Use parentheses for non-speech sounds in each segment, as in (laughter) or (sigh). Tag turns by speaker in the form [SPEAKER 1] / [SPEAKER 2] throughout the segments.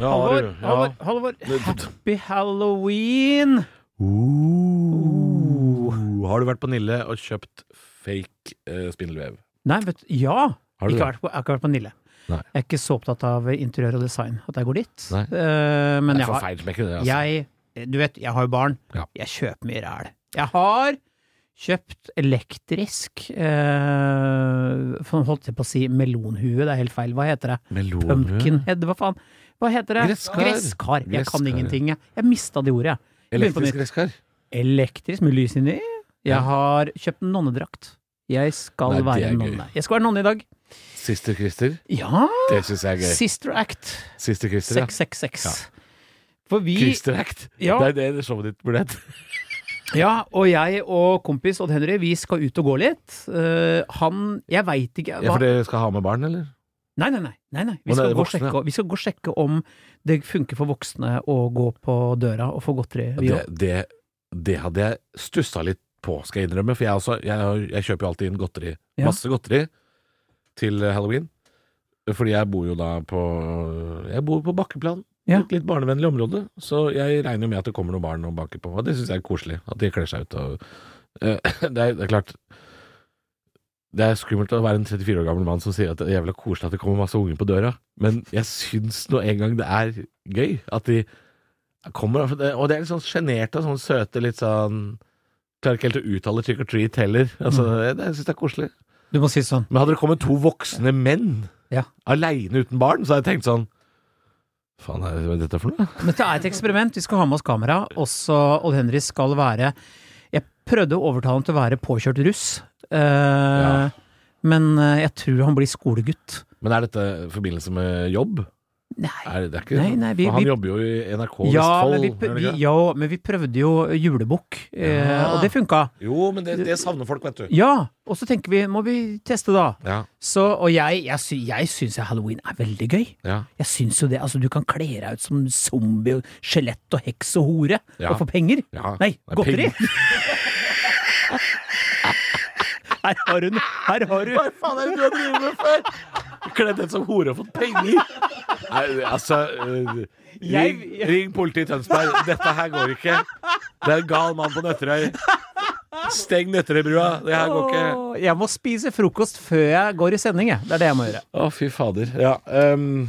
[SPEAKER 1] Ja,
[SPEAKER 2] Halvor,
[SPEAKER 1] Aru, ja.
[SPEAKER 2] Halvor, Halvor, happy halloween!
[SPEAKER 1] Uh, har du vært på Nille og kjøpt fake eh, spindelvev?
[SPEAKER 2] Nei, vet du, ja!
[SPEAKER 1] Har du
[SPEAKER 2] ikke
[SPEAKER 1] det?
[SPEAKER 2] vært på, jeg har ikke vært på Nille.
[SPEAKER 1] Nei.
[SPEAKER 2] Jeg er ikke så opptatt av interiør og design at jeg går dit.
[SPEAKER 1] Nei.
[SPEAKER 2] Eh, men
[SPEAKER 1] det
[SPEAKER 2] jeg
[SPEAKER 1] er for
[SPEAKER 2] har,
[SPEAKER 1] feil smekke, det. Altså.
[SPEAKER 2] jeg, eh, du vet, jeg har jo barn.
[SPEAKER 1] Ja.
[SPEAKER 2] Jeg kjøper mye ræl. Jeg har kjøpt elektrisk eh, for- Holdt jeg på å si melonhue, det er helt feil. Hva heter det?
[SPEAKER 1] Melon,
[SPEAKER 2] Pumpkinhead, hva faen? Hva heter det?
[SPEAKER 1] Gresskar.
[SPEAKER 2] Gresskar. Jeg
[SPEAKER 1] Gresskar,
[SPEAKER 2] kan
[SPEAKER 1] ja.
[SPEAKER 2] ingenting, jeg. Jeg mista det ordet, jeg. Begynn på nytt.
[SPEAKER 1] Elektrisk gresskar.
[SPEAKER 2] elektrisk med lys inni. Jeg
[SPEAKER 1] Ja.
[SPEAKER 2] har kjøpt en nonnedrakt. Jeg skal
[SPEAKER 1] Nei, det
[SPEAKER 2] være
[SPEAKER 1] er
[SPEAKER 2] en
[SPEAKER 1] gøy.
[SPEAKER 2] nonne. Jeg skal være nonne i dag.
[SPEAKER 1] Sister Christer.
[SPEAKER 2] Ja!
[SPEAKER 1] Det syns jeg er gøy.
[SPEAKER 2] Sister Act
[SPEAKER 1] Sister Christer, ja.
[SPEAKER 2] 666.
[SPEAKER 1] Ja.
[SPEAKER 2] For vi
[SPEAKER 1] Christer Act.
[SPEAKER 2] Ja.
[SPEAKER 1] Det er det det showet ditt burde hett.
[SPEAKER 2] Ja, og jeg og kompis Odd Henry, vi skal ut og gå litt. Eh, han Jeg veit
[SPEAKER 1] Ja,
[SPEAKER 2] ikke hva-
[SPEAKER 1] for dere skal ha med barn, eller?
[SPEAKER 2] Nei, nei, nei. nei, nei. Vi,
[SPEAKER 1] Å,
[SPEAKER 2] skal
[SPEAKER 1] det er
[SPEAKER 2] gå og
[SPEAKER 1] voksne,
[SPEAKER 2] sjekke,
[SPEAKER 1] ja.
[SPEAKER 2] vi skal gå og sjekke om det funker for voksne å gå på døra og få godteri. Vi
[SPEAKER 1] Det,
[SPEAKER 2] også.
[SPEAKER 1] det, det hadde jeg stussa litt på, skal jeg innrømme. For jeg, også, jeg, har- jeg kjøper jo alltid inn godteri.
[SPEAKER 2] Ja.
[SPEAKER 1] Masse godteri til eh, halloween. Fordi jeg bor jo da på Jeg bor på Bakkeplan.
[SPEAKER 2] Ja.
[SPEAKER 1] Et litt barnevennlig område. Så jeg regner jo med at det kommer noen barn og banker på. Og det syns jeg er koselig. At de kler seg ut og eh, (clears throat) det, er, det er klart Det er skummelt å være en 34 år gammel mann som sier at det er jævla koselig at det kommer masse unger på døra. Men jeg syns nå en gang det er gøy at de kommer. for det- Og det er litt sånn sjenerte og sånn søte, litt sånn Klarer ikke helt å uttale trick or treat heller. Altså,
[SPEAKER 2] Mm.
[SPEAKER 1] jeg, jeg syns det er koselig.
[SPEAKER 2] Du må si sånn
[SPEAKER 1] Men hadde det kommet to voksne menn
[SPEAKER 2] Ja.
[SPEAKER 1] aleine uten barn, så hadde jeg tenkt sånn Faen, er det- hva er dette for noe?
[SPEAKER 2] Dette er et eksperiment. Vi skal ha med oss kamera. Også Odd Henry skal være Jeg prøvde å overtale ham til å være påkjørt russ, eh, men eh, jeg tror han blir skolegutt.
[SPEAKER 1] Men er dette i forbindelse med jobb?
[SPEAKER 2] Nei.
[SPEAKER 1] Er det, det er ikke,
[SPEAKER 2] Nei, nei, vi-
[SPEAKER 1] for han
[SPEAKER 2] vi-
[SPEAKER 1] jobber jo i NRK
[SPEAKER 2] Ja
[SPEAKER 1] Vestfold.
[SPEAKER 2] men, vi,
[SPEAKER 1] gjør
[SPEAKER 2] pr-
[SPEAKER 1] han
[SPEAKER 2] vi,
[SPEAKER 1] ikke det?
[SPEAKER 2] ja, men vi prøvde jo julebukk, eh,
[SPEAKER 1] Ja.
[SPEAKER 2] og det funka.
[SPEAKER 1] Jo, men det, det savner folk, vet du.
[SPEAKER 2] Ja! Og så tenker vi, må vi teste, da.
[SPEAKER 1] Ja,
[SPEAKER 2] Så, og jeg, jeg, sy jeg syns jo halloween er veldig gøy.
[SPEAKER 1] ja.
[SPEAKER 2] Jeg syns jo det. Altså, du kan kle deg ut som zombie, og skjelett og heks og hore,
[SPEAKER 1] Ja.
[SPEAKER 2] og få penger.
[SPEAKER 1] Ja.
[SPEAKER 2] Nei,
[SPEAKER 1] Nei,
[SPEAKER 2] godteri!
[SPEAKER 1] penger.
[SPEAKER 2] (laughs) her har hun Her har hun
[SPEAKER 1] Hva faen er det du har drevet med før? Kledd ut som hore og fått penger? Nei, altså eh, Ring,
[SPEAKER 2] Jeg-
[SPEAKER 1] ring politiet i Tønsberg. Dette her går ikke. Det er en gal mann på Nøtterøy. Steng Nøtterøybrua. Det her går ikke.
[SPEAKER 2] Åh, Jeg må spise frokost før jeg går i sending, jeg. Det er det jeg må gjøre.
[SPEAKER 1] Å, fy fader. Ja. ehm,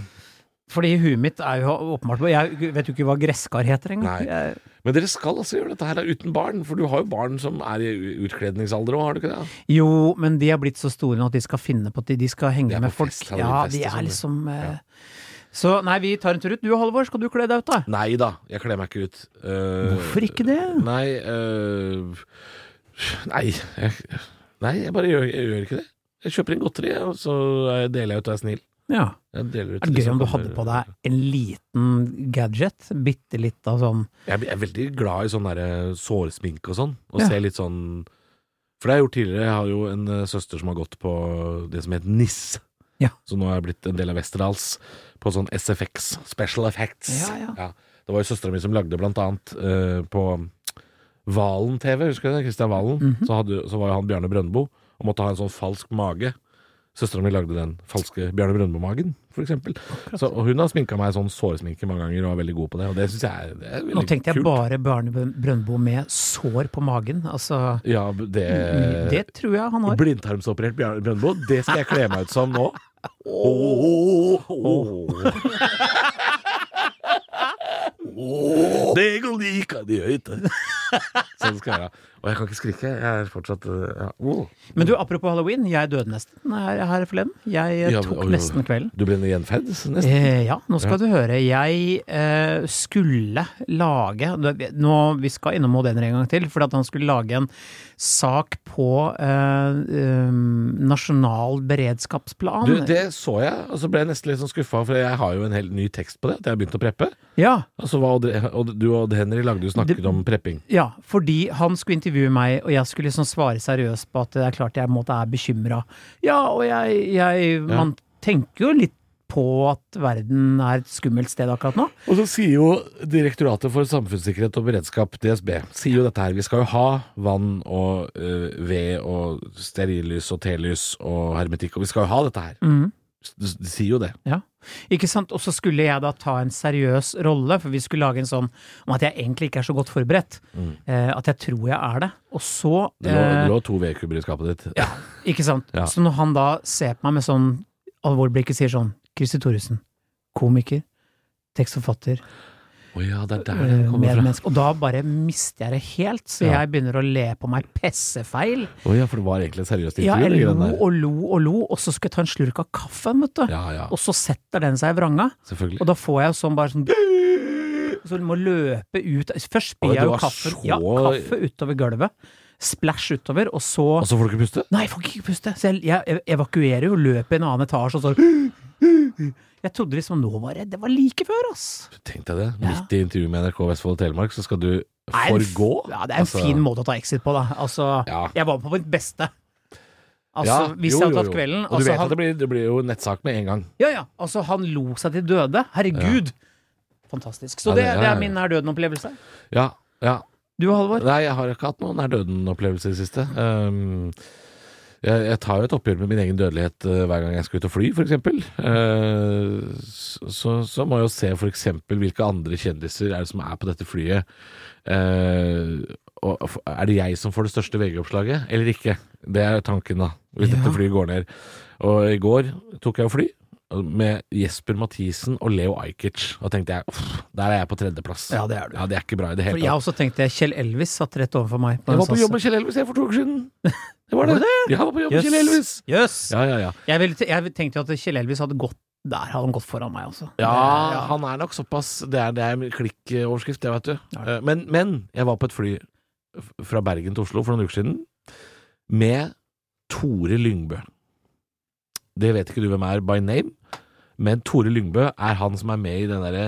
[SPEAKER 2] Fordi huet mitt er jo åpenbart Jeg vet jo ikke hva gresskar heter engang.
[SPEAKER 1] Nei.
[SPEAKER 2] Jeg-
[SPEAKER 1] men dere skal altså gjøre dette her da, uten barn, for du har jo barn som er i u- utkledningsalder òg, har du ikke det?
[SPEAKER 2] Jo, men de er blitt så store nå at de skal finne på at de, de skal henge
[SPEAKER 1] De er
[SPEAKER 2] med
[SPEAKER 1] på
[SPEAKER 2] folk.
[SPEAKER 1] fest,
[SPEAKER 2] ja,
[SPEAKER 1] halloweenfest
[SPEAKER 2] de
[SPEAKER 1] og
[SPEAKER 2] er
[SPEAKER 1] sånn.
[SPEAKER 2] liksom eh, Så nei, vi tar en tur ut. Du Halvor, skal du kle deg ut, da?
[SPEAKER 1] Nei da, jeg kler meg ikke ut. Eh,
[SPEAKER 2] Hvorfor ikke det?
[SPEAKER 1] Nei eh, Nei, jeg, nei jeg bare gjør, jeg gjør ikke det. Jeg kjøper inn godteri, og så eh, deler jeg ut og er snill.
[SPEAKER 2] Ja.
[SPEAKER 1] Jeg deler ut liksom
[SPEAKER 2] Det er
[SPEAKER 1] til de
[SPEAKER 2] gøy
[SPEAKER 1] som
[SPEAKER 2] om du
[SPEAKER 1] kommer.
[SPEAKER 2] hadde på deg en liten gadget. Bitte litt av sånn
[SPEAKER 1] Jeg er veldig glad i sånn derre sårsminke og sånn, og
[SPEAKER 2] Ja.
[SPEAKER 1] ser litt sånn For det har jeg gjort tidligere. Jeg har jo en eh, søster som har gått på det som het NIS.
[SPEAKER 2] Ja.
[SPEAKER 1] Så nå har jeg blitt en del av Westerdals på sånn SFX, Special Effects.
[SPEAKER 2] Ja, ja.
[SPEAKER 1] Det var jo søstera mi som lagde blant annet eh, på Valen TV, husker du det? Kristian Valen.
[SPEAKER 2] Mhm.
[SPEAKER 1] så, hadde, så var jo han Bjarne Brøndbo og måtte ha en sånn falsk mage. Søstera mi lagde den falske Bjarne Brøndbo-magen, for eksempel. Så, og hun har sminka meg sånn såresminke mange ganger og er veldig god på det, og det syns jeg er, det er veldig
[SPEAKER 2] Nå tenkte jeg
[SPEAKER 1] kult.
[SPEAKER 2] bare Bjarne Brøndbo med sår på magen. Altså
[SPEAKER 1] Ja, det,
[SPEAKER 2] Mm, Det tror jeg han har.
[SPEAKER 1] Blindtarmsoperert Bjarne Brøndbo, det skal jeg kle meg ut som nå. Det går like de høyte. Sånn skal jeg ha. Og jeg kan ikke skrike. Jeg er fortsatt eh, ja. oh.
[SPEAKER 2] Men du, apropos halloween. Jeg døde nesten her, her forleden. Jeg eh,
[SPEAKER 1] Ja,
[SPEAKER 2] tok
[SPEAKER 1] oi, oi.
[SPEAKER 2] nesten kvelden.
[SPEAKER 1] Du ble gjenferd, nesten?
[SPEAKER 2] Eh, ja, nå
[SPEAKER 1] Ja.
[SPEAKER 2] skal du høre. Jeg eh, skulle lage nå, Vi skal innom Odener en gang til, for at han skulle lage en sak på eh, um, nasjonal beredskapsplan.
[SPEAKER 1] Du, det så jeg, og så ble jeg nesten litt sånn skuffa, for jeg har jo en helt ny tekst på det. At jeg har begynt å preppe.
[SPEAKER 2] ja,
[SPEAKER 1] Altså, hva Odd, Odd, du og Odd Henry lagde jo snakket
[SPEAKER 2] Det-
[SPEAKER 1] om prepping.
[SPEAKER 2] ja, fordi han skulle intervjue meg, og jeg skulle liksom svare seriøst på at det er klart jeg på en måte er bekymra. Ja, og jeg, jeg Man tenker jo litt på at verden er et skummelt sted akkurat nå.
[SPEAKER 1] Og så sier jo Direktoratet for samfunnssikkerhet og beredskap, DSB, sier jo dette her. Vi skal jo ha vann og øh, ved og stearinlys og telys og hermetikk, og vi skal jo ha dette her.
[SPEAKER 2] Mm.
[SPEAKER 1] S- s- De sier jo det.
[SPEAKER 2] Ja, ikke sant? Og så skulle jeg da ta en seriøs rolle, for vi skulle lage en sånn om at jeg egentlig ikke er så godt forberedt. Eh, at jeg tror jeg er det. Og så
[SPEAKER 1] Mm. Det lå, det
[SPEAKER 2] eh,
[SPEAKER 1] lå to vedkubber i skapet ditt.
[SPEAKER 2] Ja, ikke sant?
[SPEAKER 1] Ja.
[SPEAKER 2] Så når han da ser på meg med sånn alvorblikket sier sånn Kristi Thoresen, komiker, tekstforfatter,
[SPEAKER 1] (laughs) Å ja, det er der det
[SPEAKER 2] eh,
[SPEAKER 1] kommer fra.
[SPEAKER 2] medmenneske Og da bare mister jeg det helt, så
[SPEAKER 1] Ja.
[SPEAKER 2] jeg begynner å le på meg pessefeil.
[SPEAKER 1] Å ja, for det var egentlig et seriøst
[SPEAKER 2] Ja,
[SPEAKER 1] intervju?
[SPEAKER 2] jeg
[SPEAKER 1] det
[SPEAKER 2] lo
[SPEAKER 1] greiene der.
[SPEAKER 2] og lo og lo, og så skulle jeg ta en slurk av kaffen, vet du.
[SPEAKER 1] Ja, ja,
[SPEAKER 2] Og så setter den seg i vranga.
[SPEAKER 1] selvfølgelig.
[SPEAKER 2] Og da får jeg jo sånn
[SPEAKER 1] (clears throat)
[SPEAKER 2] bare sånn Så du må løpe ut Først
[SPEAKER 1] Oi,
[SPEAKER 2] spyr jeg
[SPEAKER 1] du
[SPEAKER 2] jo
[SPEAKER 1] var
[SPEAKER 2] kaffe,
[SPEAKER 1] så-
[SPEAKER 2] ja, kaffe utover gulvet. Splæsj utover, og så
[SPEAKER 1] Og så får du ikke puste?
[SPEAKER 2] Nei, jeg får ikke puste! Så jeg, jeg evakuerer jo, løper i en annen
[SPEAKER 1] (clears throat)
[SPEAKER 2] etasje, og så Jeg trodde liksom nå var det Det var like før, ass!
[SPEAKER 1] Tenk deg det.
[SPEAKER 2] Ja.
[SPEAKER 1] Midt i intervju med NRK Vestfold og Telemark, så skal du
[SPEAKER 2] Det er en
[SPEAKER 1] forgå?
[SPEAKER 2] f- Ja, det er en
[SPEAKER 1] Altså,
[SPEAKER 2] fin måte å ta exit på, da. Altså,
[SPEAKER 1] Ja.
[SPEAKER 2] jeg var på mitt beste. Altså,
[SPEAKER 1] Ja,
[SPEAKER 2] hvis
[SPEAKER 1] jo,
[SPEAKER 2] jeg hadde
[SPEAKER 1] jo,
[SPEAKER 2] tatt
[SPEAKER 1] jo.
[SPEAKER 2] kvelden
[SPEAKER 1] Og du
[SPEAKER 2] altså,
[SPEAKER 1] vet
[SPEAKER 2] han,
[SPEAKER 1] at det blir, det blir jo nettsak med en gang.
[SPEAKER 2] Ja, ja. Altså, han lo seg til døde. Herregud! Fantastisk. Så
[SPEAKER 1] Ja,
[SPEAKER 2] det,
[SPEAKER 1] det- ja,
[SPEAKER 2] det
[SPEAKER 1] ja.
[SPEAKER 2] er min nær døden-opplevelse.
[SPEAKER 1] Ja, ja.
[SPEAKER 2] Du, Halvor?
[SPEAKER 1] Nei, jeg har ikke hatt noen nær døden-opplevelse i det siste. Um, jeg, jeg tar jo et oppgjør med min egen dødelighet uh, hver gang jeg skal ut og fly, f.eks. Uh, så, så må jeg jo se f.eks. hvilke andre kjendiser er det som er på dette flyet. Uh, og f- er det jeg som får det største VG-oppslaget, eller ikke? Det er tanken, da. Hvis
[SPEAKER 2] Ja.
[SPEAKER 1] dette flyet går ned. Og i går tok jeg jo fly. Med Jesper Mathisen og Leo Ajkic. Da tenkte jeg uff, der er jeg på tredjeplass.
[SPEAKER 2] Ja, det er du.
[SPEAKER 1] Ja, det er ikke bra i det hele
[SPEAKER 2] For
[SPEAKER 1] tatt.
[SPEAKER 2] jeg også tenkte Kjell Elvis satt rett overfor meg.
[SPEAKER 1] Jeg var på jobb med Kjell Elvis jeg for to uker siden. Det var det. Jeg var på jobb med Kjell Elvis.
[SPEAKER 2] Jøs!
[SPEAKER 1] Ja, ja, ja.
[SPEAKER 2] Jeg, ville- jeg tenkte jo at Kjell Elvis hadde gått der hadde han gått foran meg, altså.
[SPEAKER 1] Ja,
[SPEAKER 2] Ja.
[SPEAKER 1] han er nok såpass Det er, det er klikkoverskrift, det, vet du.
[SPEAKER 2] Ja.
[SPEAKER 1] Eh, Men, men jeg var på et fly f- fra Bergen til Oslo for noen uker siden med Tore Lyngbø. Det vet ikke du hvem er by name, men Tore Lyngbø er han som er med i den derre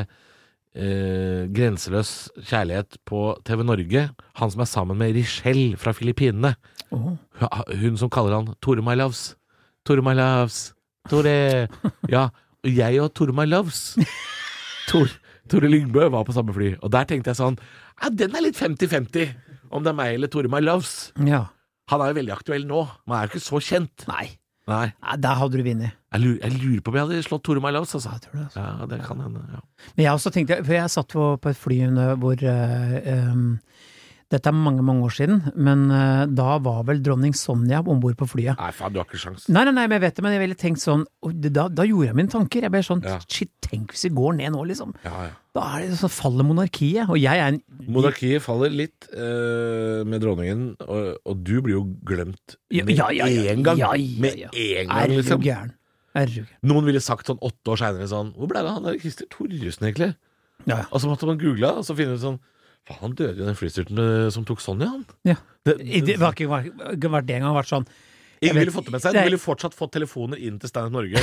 [SPEAKER 1] eh, Grenseløs kjærlighet på TV Norge. Han som er sammen med Richelle fra Filippinene.
[SPEAKER 2] Åh.
[SPEAKER 1] Hun- Hun som kaller han Tore My Loves. Tore My Loves. Tore Ja, og jeg og Tore My Loves. Tor, Tore Lyngbø var på samme fly, og der tenkte jeg sånn Ja, den er litt 50-50, om det er meg eller Tore My Loves.
[SPEAKER 2] Ja.
[SPEAKER 1] Han er jo veldig aktuell nå, men han er jo ikke så kjent.
[SPEAKER 2] Nei.
[SPEAKER 1] Nei.
[SPEAKER 2] Nei, der hadde du vunnet.
[SPEAKER 1] Jeg lurer, jeg lurer på om jeg hadde slått Tore My Loves, altså.
[SPEAKER 2] Jeg tror det, altså.
[SPEAKER 1] Ja, det kan hende. Ja.
[SPEAKER 2] Men jeg også tenkte, for jeg satt på, på et fly under- hvor eh, em, Dette er mange, mange år siden, men eh, da var vel dronning Sonja om bord på flyet.
[SPEAKER 1] Nei, faen, du har ikke sjans.
[SPEAKER 2] Nei, nei, nei, men jeg vet det, men jeg ville tenkt sånn og det- da, da gjorde jeg mine tanker. Jeg ble sånn
[SPEAKER 1] Ja.
[SPEAKER 2] Shit, tenk hvis vi går ned nå, liksom.
[SPEAKER 1] Ja, ja.
[SPEAKER 2] Da er det sånn, faller monarkiet. Og jeg er en
[SPEAKER 1] Monarkiet faller litt eh, med dronningen, og, og du blir jo glemt
[SPEAKER 2] Ja,
[SPEAKER 1] med
[SPEAKER 2] ja, ja, ja.
[SPEAKER 1] en gang.
[SPEAKER 2] Ja, ja, ja.
[SPEAKER 1] Med en
[SPEAKER 2] Er
[SPEAKER 1] gang,
[SPEAKER 2] du
[SPEAKER 1] liksom.
[SPEAKER 2] gæren? Er du gæren?
[SPEAKER 1] Noen ville sagt sånn åtte år seinere sånn Hvor ble det av han der Christer Torjussen, egentlig?
[SPEAKER 2] Ja, ja.
[SPEAKER 1] Og så måtte man google, og så finne ut sånn Faen, han døde i den flystyrten eh, som tok Sonja, han.
[SPEAKER 2] Ja.
[SPEAKER 1] Det,
[SPEAKER 2] I- Det har ikke vært ikke vært det engang vært sånn.
[SPEAKER 1] ingen
[SPEAKER 2] vet-
[SPEAKER 1] ville fått det med seg.
[SPEAKER 2] Nei.
[SPEAKER 1] Du ville fortsatt fått telefoner inn til Stein Norge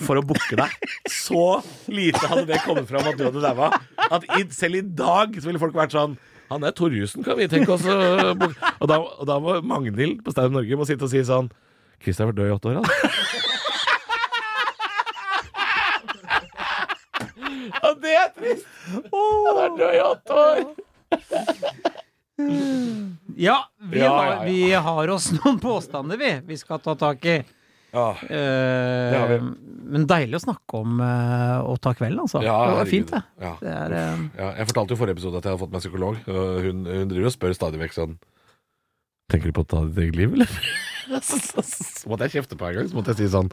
[SPEAKER 1] for å booke deg. Så lite hadde det kommet fram at du hadde daua. At i, selv i dag så ville folk vært sånn Han er Torjussen, kan vi tenke oss å booke Og da, og da må Magnhild på Stein Norge må sitte og si sånn Christer har vært død i åtte år, han. Og det er trist! Han er død i åtte år!
[SPEAKER 2] Ja, vi,
[SPEAKER 1] Ja,
[SPEAKER 2] har,
[SPEAKER 1] ja, ja.
[SPEAKER 2] vi har oss noen påstander, vi, vi skal ta tak i. Eh,
[SPEAKER 1] det har vi.
[SPEAKER 2] Men deilig å snakke om eh, å ta kvelden, altså. det var fint, det.
[SPEAKER 1] Ja.
[SPEAKER 2] det er, eh,
[SPEAKER 1] Ja, jeg fortalte jo i forrige episode at jeg hadde fått meg psykolog. og Hun, hun driver og spør stadig vekk sånn Tenker du på å ta ditt eget liv, eller? (laughs) så, så, så, så måtte jeg kjefte på henne en gang. Så måtte jeg si sånn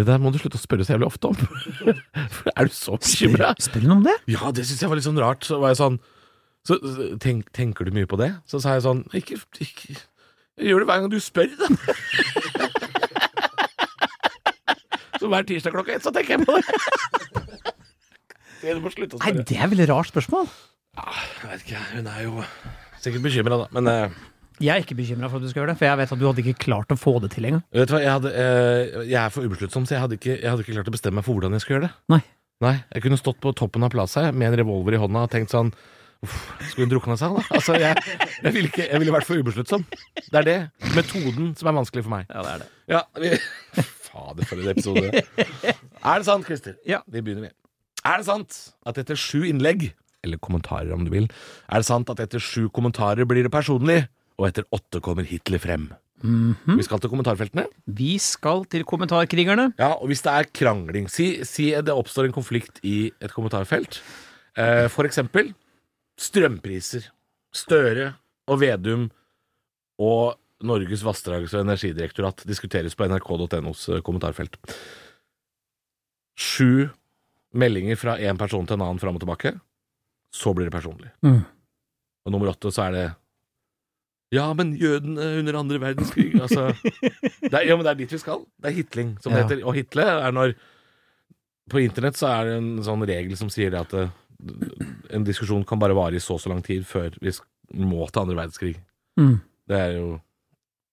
[SPEAKER 1] Det der må du slutte å spørre så jævlig ofte om. (laughs) For er du så bekymra?
[SPEAKER 2] spør, spør hun om det?
[SPEAKER 1] Ja, det syns jeg var litt sånn rart. Så var jeg sånn Så så tenk, tenker du mye på det? Så sa jeg sånn Ikke, ikke jeg gjør det hver gang du spør, da. så hver tirsdag klokka ett så tenker jeg på det. Det Du må slutte å
[SPEAKER 2] Nei,
[SPEAKER 1] spørre.
[SPEAKER 2] det er veldig rart spørsmål.
[SPEAKER 1] Jeg vet ikke, hun er jo sikkert bekymra, da. Men eh,
[SPEAKER 2] Jeg er ikke bekymra for at du skal gjøre det, for jeg vet at du hadde ikke klart å få det til engang.
[SPEAKER 1] vet du hva, jeg, hadde, eh, jeg er for ubesluttsom, så jeg hadde, ikke, jeg hadde ikke klart å bestemme meg for hvordan jeg skulle gjøre det.
[SPEAKER 2] Nei.
[SPEAKER 1] Nei, Jeg kunne stått på toppen av plaza med en revolver i hånda og tenkt sånn Uff, skulle hun drukna seg, da? Altså, jeg, jeg, ville ikke, jeg ville vært for ubesluttsom. Det er det. Metoden som er vanskelig for meg.
[SPEAKER 2] Ja, det er det.
[SPEAKER 1] Ja, vi... Fader, for en episode. er det sant, Christer?
[SPEAKER 2] Ja.
[SPEAKER 1] Vi begynner, vi. Er det sant at etter sju innlegg, eller kommentarer om du vil, er det sant at etter sju kommentarer blir det personlig, og etter åtte kommer Hitler frem?
[SPEAKER 2] Mhm.
[SPEAKER 1] Vi skal til kommentarfeltene.
[SPEAKER 2] Vi skal til kommentarkrigerne.
[SPEAKER 1] Ja, og hvis det er krangling Si, si det oppstår en konflikt i et kommentarfelt. Eh, for eksempel strømpriser. Støre og Vedum og Norges vassdrags- og energidirektorat diskuteres på nrk.nos eh, kommentarfelt. Sju meldinger fra én person til en annen fram og tilbake. Så blir det personlig.
[SPEAKER 2] Mm.
[SPEAKER 1] Og nummer åtte så er det Ja, men jødene under andre verdenskrig
[SPEAKER 2] (laughs)
[SPEAKER 1] Altså det er, Ja, men det er dit vi skal. Det er hitling, som det
[SPEAKER 2] Ja.
[SPEAKER 1] heter. Og hitle er når På internett så er det en sånn regel som sier det at eh, en diskusjon kan bare vare i så og så lang tid før vi sk- må til andre verdenskrig.
[SPEAKER 2] Mm.
[SPEAKER 1] Det er jo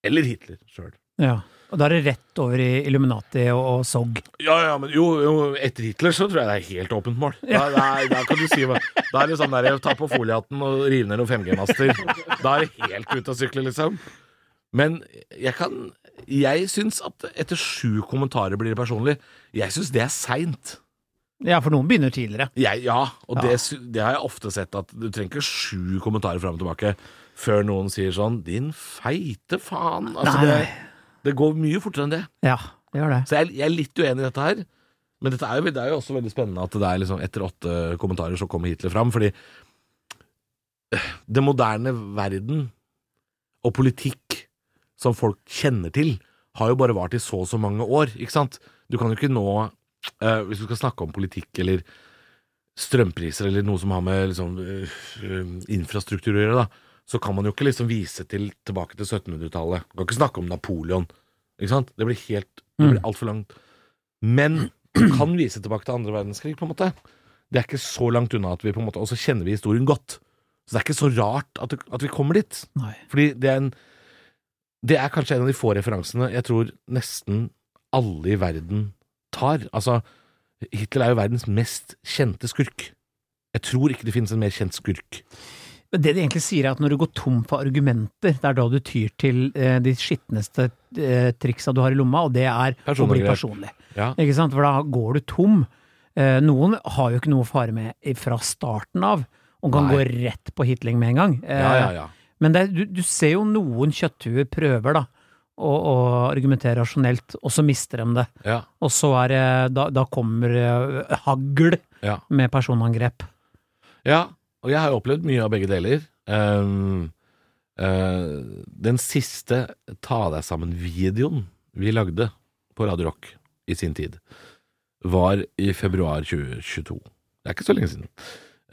[SPEAKER 1] Eller Hitler sjøl.
[SPEAKER 2] Ja. Og da er det rett over i Illuminati og, og SOG.
[SPEAKER 1] Ja, ja, men jo, jo, etter Hitler så tror jeg det er helt åpent mål. Da, da, da kan du si hva Da er det sånn der, ta på foliehatten og rive ned noen 5G-master. Da er det helt ute å sykle, liksom. Men jeg kan Jeg syns at etter sju kommentarer blir det personlig. Jeg syns det er seint.
[SPEAKER 2] Ja, for noen begynner tidligere.
[SPEAKER 1] Jeg, ja, og
[SPEAKER 2] Ja.
[SPEAKER 1] Det, sy- det har jeg ofte sett, at du trenger ikke sju kommentarer fram og tilbake før noen sier sånn 'din feite faen'. Altså,
[SPEAKER 2] Nei, nei.
[SPEAKER 1] Det, det går mye fortere enn det.
[SPEAKER 2] Ja, det gjør det.
[SPEAKER 1] Så jeg, jeg er litt uenig i dette her. Men dette er jo, det er jo også veldig spennende at det er liksom etter åtte kommentarer så kommer Hitler fram. Fordi det moderne verden og politikk som folk kjenner til, har jo bare vart i så og så mange år. Ikke sant? Du kan jo ikke nå eh, Hvis du skal snakke om politikk eller strømpriser eller noe som har med liksom, eh, infrastruktur å gjøre, da, så kan man jo ikke liksom vise til, tilbake til 1700-tallet. Du kan ikke snakke om Napoleon. Ikke sant? Det blir helt Det blir altfor langt. Men du kan vise tilbake til andre verdenskrig, på en måte. Det er ikke så langt unna at vi på en måte Og så kjenner vi historien godt. Så det er ikke så rart at, at vi kommer dit.
[SPEAKER 2] Nei.
[SPEAKER 1] Fordi det er en Det er kanskje en av de få referansene jeg tror nesten alle i verden tar. Altså, Hitler er jo verdens mest kjente skurk. Jeg tror ikke det finnes en mer kjent skurk.
[SPEAKER 2] Men det de egentlig sier er at når du går tom for argumenter, det er da du tyr til eh, de skitneste eh, triksa du har i lomma, og det er å bli
[SPEAKER 1] Personangrep.
[SPEAKER 2] personlig.
[SPEAKER 1] Ja.
[SPEAKER 2] Ikke sant? For da går du tom. Eh, noen har jo ikke noe å fare med fra starten av, og kan
[SPEAKER 1] Nei.
[SPEAKER 2] gå rett på hitling med en gang. Eh,
[SPEAKER 1] Ja, ja, ja.
[SPEAKER 2] Men det, er- du, du ser jo noen kjøtthuer prøver da, å, å argumentere rasjonelt, og så mister de det.
[SPEAKER 1] ja,
[SPEAKER 2] Og så er det, da, da kommer eh, hagl
[SPEAKER 1] ja.
[SPEAKER 2] med personangrep.
[SPEAKER 1] Ja, og jeg har jo opplevd mye av begge deler. Ehm, eh, den siste Ta deg sammen-videoen vi lagde på Radio Rock i sin tid, var i februar 2022. Det er ikke så lenge siden.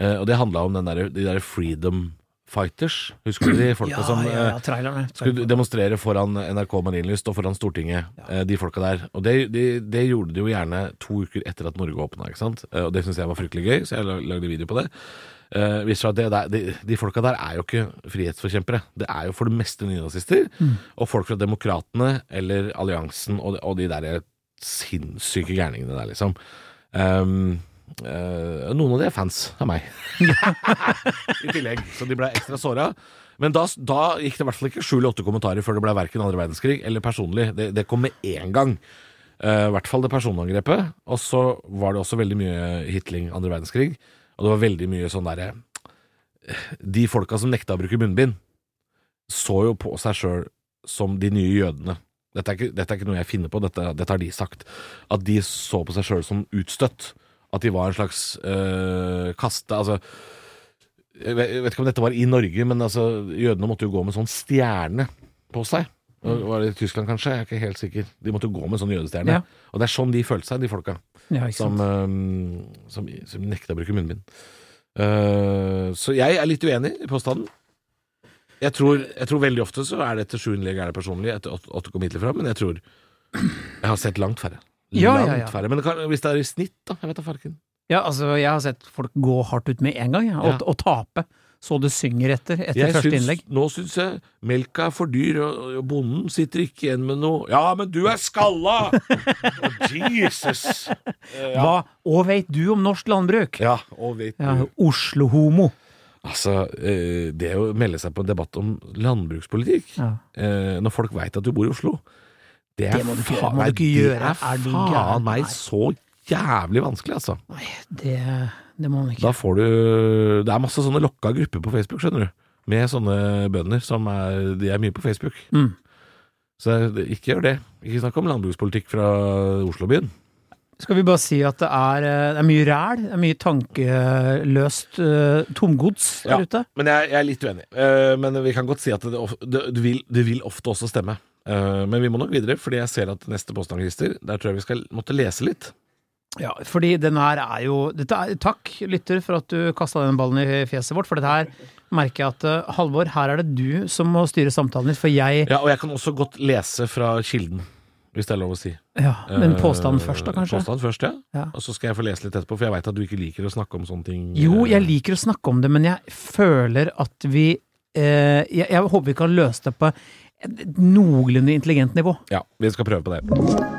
[SPEAKER 1] Eh, og det handla om den der, de der Freedom Fighters. Husker du de folka som
[SPEAKER 2] ja,
[SPEAKER 1] eh,
[SPEAKER 2] ja, trailerne.
[SPEAKER 1] skulle demonstrere foran NRK Marienlyst og foran Stortinget, eh, de folka der. Og det, de, det gjorde de jo gjerne to uker etter at Norge åpna, ikke sant. Eh, Og det syns jeg var fryktelig gøy, så jeg lag- lagde video på det. Eh, viser seg at det der, de, de folka der er jo ikke frihetsforkjempere. Det er jo for det meste nynazister. Og folk fra Demokratene eller Alliansen og, og de der sinnssyke gærningene der, liksom. Ehm, eh, noen av de er fans av meg. I tillegg, så de ble ekstra såra. Men da, da gikk det i hvert fall ikke sju eller åtte kommentarer før det ble verken andre verdenskrig eller personlig. Det, det kom med én gang. Eh, I hvert fall det personangrepet. Og så var det også veldig mye hitling andre verdenskrig. Og det var veldig mye sånn derre eh, De folka som nekta å bruke munnbind, så jo på seg sjøl som de nye jødene. Dette er, ikke, dette er ikke noe jeg finner på, dette, dette har de sagt. At de så på seg sjøl som utstøtt. At de var en slags eh, kaste Altså jeg vet jeg vet ikke om dette var i Norge, men altså, jødene måtte jo gå med sånn stjerne på seg. Var det i Tyskland, kanskje? Jeg er ikke helt sikker. De måtte gå med sånn jødestjerne.
[SPEAKER 2] Mm. Ja.
[SPEAKER 1] Og det er sånn de følte seg, de folka
[SPEAKER 2] Ja, ikke sant.
[SPEAKER 1] som, eh, som, som nekta å bruke munnbind. Eh, så jeg er litt uenig i påstanden. Jeg tror, jeg tror veldig ofte så er det etter sjuende leg er det personlig, etter åtte, åtte kom Hitler fram, men jeg tror Jeg har sett langt færre.
[SPEAKER 2] Ja, ja, ja.
[SPEAKER 1] Langt færre. Men det kan, hvis det er i snitt, da? Jeg vet da farken.
[SPEAKER 2] Ja, altså, jeg har sett folk gå hardt ut med en gang, ja, og,
[SPEAKER 1] Ja.
[SPEAKER 2] og tape. Så det synger etter, etter
[SPEAKER 1] Jeg
[SPEAKER 2] første
[SPEAKER 1] syns-
[SPEAKER 2] innlegg.
[SPEAKER 1] Nå syns jeg melka er for dyr, og, og bonden sitter ikke igjen med noe Ja, men du er skalla! Å, Jesus! Eh, ja.
[SPEAKER 2] Hva Å, veit du om norsk landbruk?
[SPEAKER 1] ja, og vet du
[SPEAKER 2] Ja, Oslo-homo.
[SPEAKER 1] Altså, eh, det å melde seg på en debatt om landbrukspolitikk
[SPEAKER 2] Ja.
[SPEAKER 1] eh, når folk veit at du bor i Oslo Det, er
[SPEAKER 2] Det må du ikke
[SPEAKER 1] fa-
[SPEAKER 2] gjøre, må du
[SPEAKER 1] nei,
[SPEAKER 2] ikke gjøre.
[SPEAKER 1] Det er
[SPEAKER 2] Er du
[SPEAKER 1] faen
[SPEAKER 2] gæren?
[SPEAKER 1] meg
[SPEAKER 2] Nei.
[SPEAKER 1] så jævlig vanskelig, altså.
[SPEAKER 2] Nei, det, det må man ikke.
[SPEAKER 1] Da får du Det er masse sånne lokka grupper på Facebook, skjønner du. Med sånne bønder som er De er mye på Facebook.
[SPEAKER 2] Mm.
[SPEAKER 1] Så det- ikke gjør det. Ikke snakk om landbrukspolitikk fra Oslobyen.
[SPEAKER 2] Skal vi bare si at det er, eh, det er mye ræl, det er mye tankeløst eh, tomgods der
[SPEAKER 1] Ja.
[SPEAKER 2] ute?
[SPEAKER 1] Men jeg, jeg er litt uenig. Eh, men vi kan godt si at det, of- det, det, vil, det vil ofte også stemme. Eh, men vi må nok videre, fordi jeg ser at neste påstand, Christer, der tror jeg vi skal måtte lese litt.
[SPEAKER 2] Ja, fordi den her er jo dette er, Takk, lytter, for at du kasta den ballen i fjeset vårt, for dette her merker jeg at eh, Halvor, her er det du som må styre samtalen litt, for jeg
[SPEAKER 1] Ja, og jeg kan også godt lese fra kilden, hvis det er lov å si.
[SPEAKER 2] Ja, men
[SPEAKER 1] Eh,
[SPEAKER 2] påstanden først, da, kanskje?
[SPEAKER 1] Påstanden først, ja.
[SPEAKER 2] Ja.
[SPEAKER 1] Og så skal jeg få lese litt etterpå, for jeg veit at du ikke liker å snakke om sånne ting.
[SPEAKER 2] Jo, jeg
[SPEAKER 1] Eh,
[SPEAKER 2] liker å snakke om det, men jeg føler at vi eh, jeg, jeg håper vi kan løse det på et et noenlunde intelligent nivå.
[SPEAKER 1] Ja, vi skal prøve på det.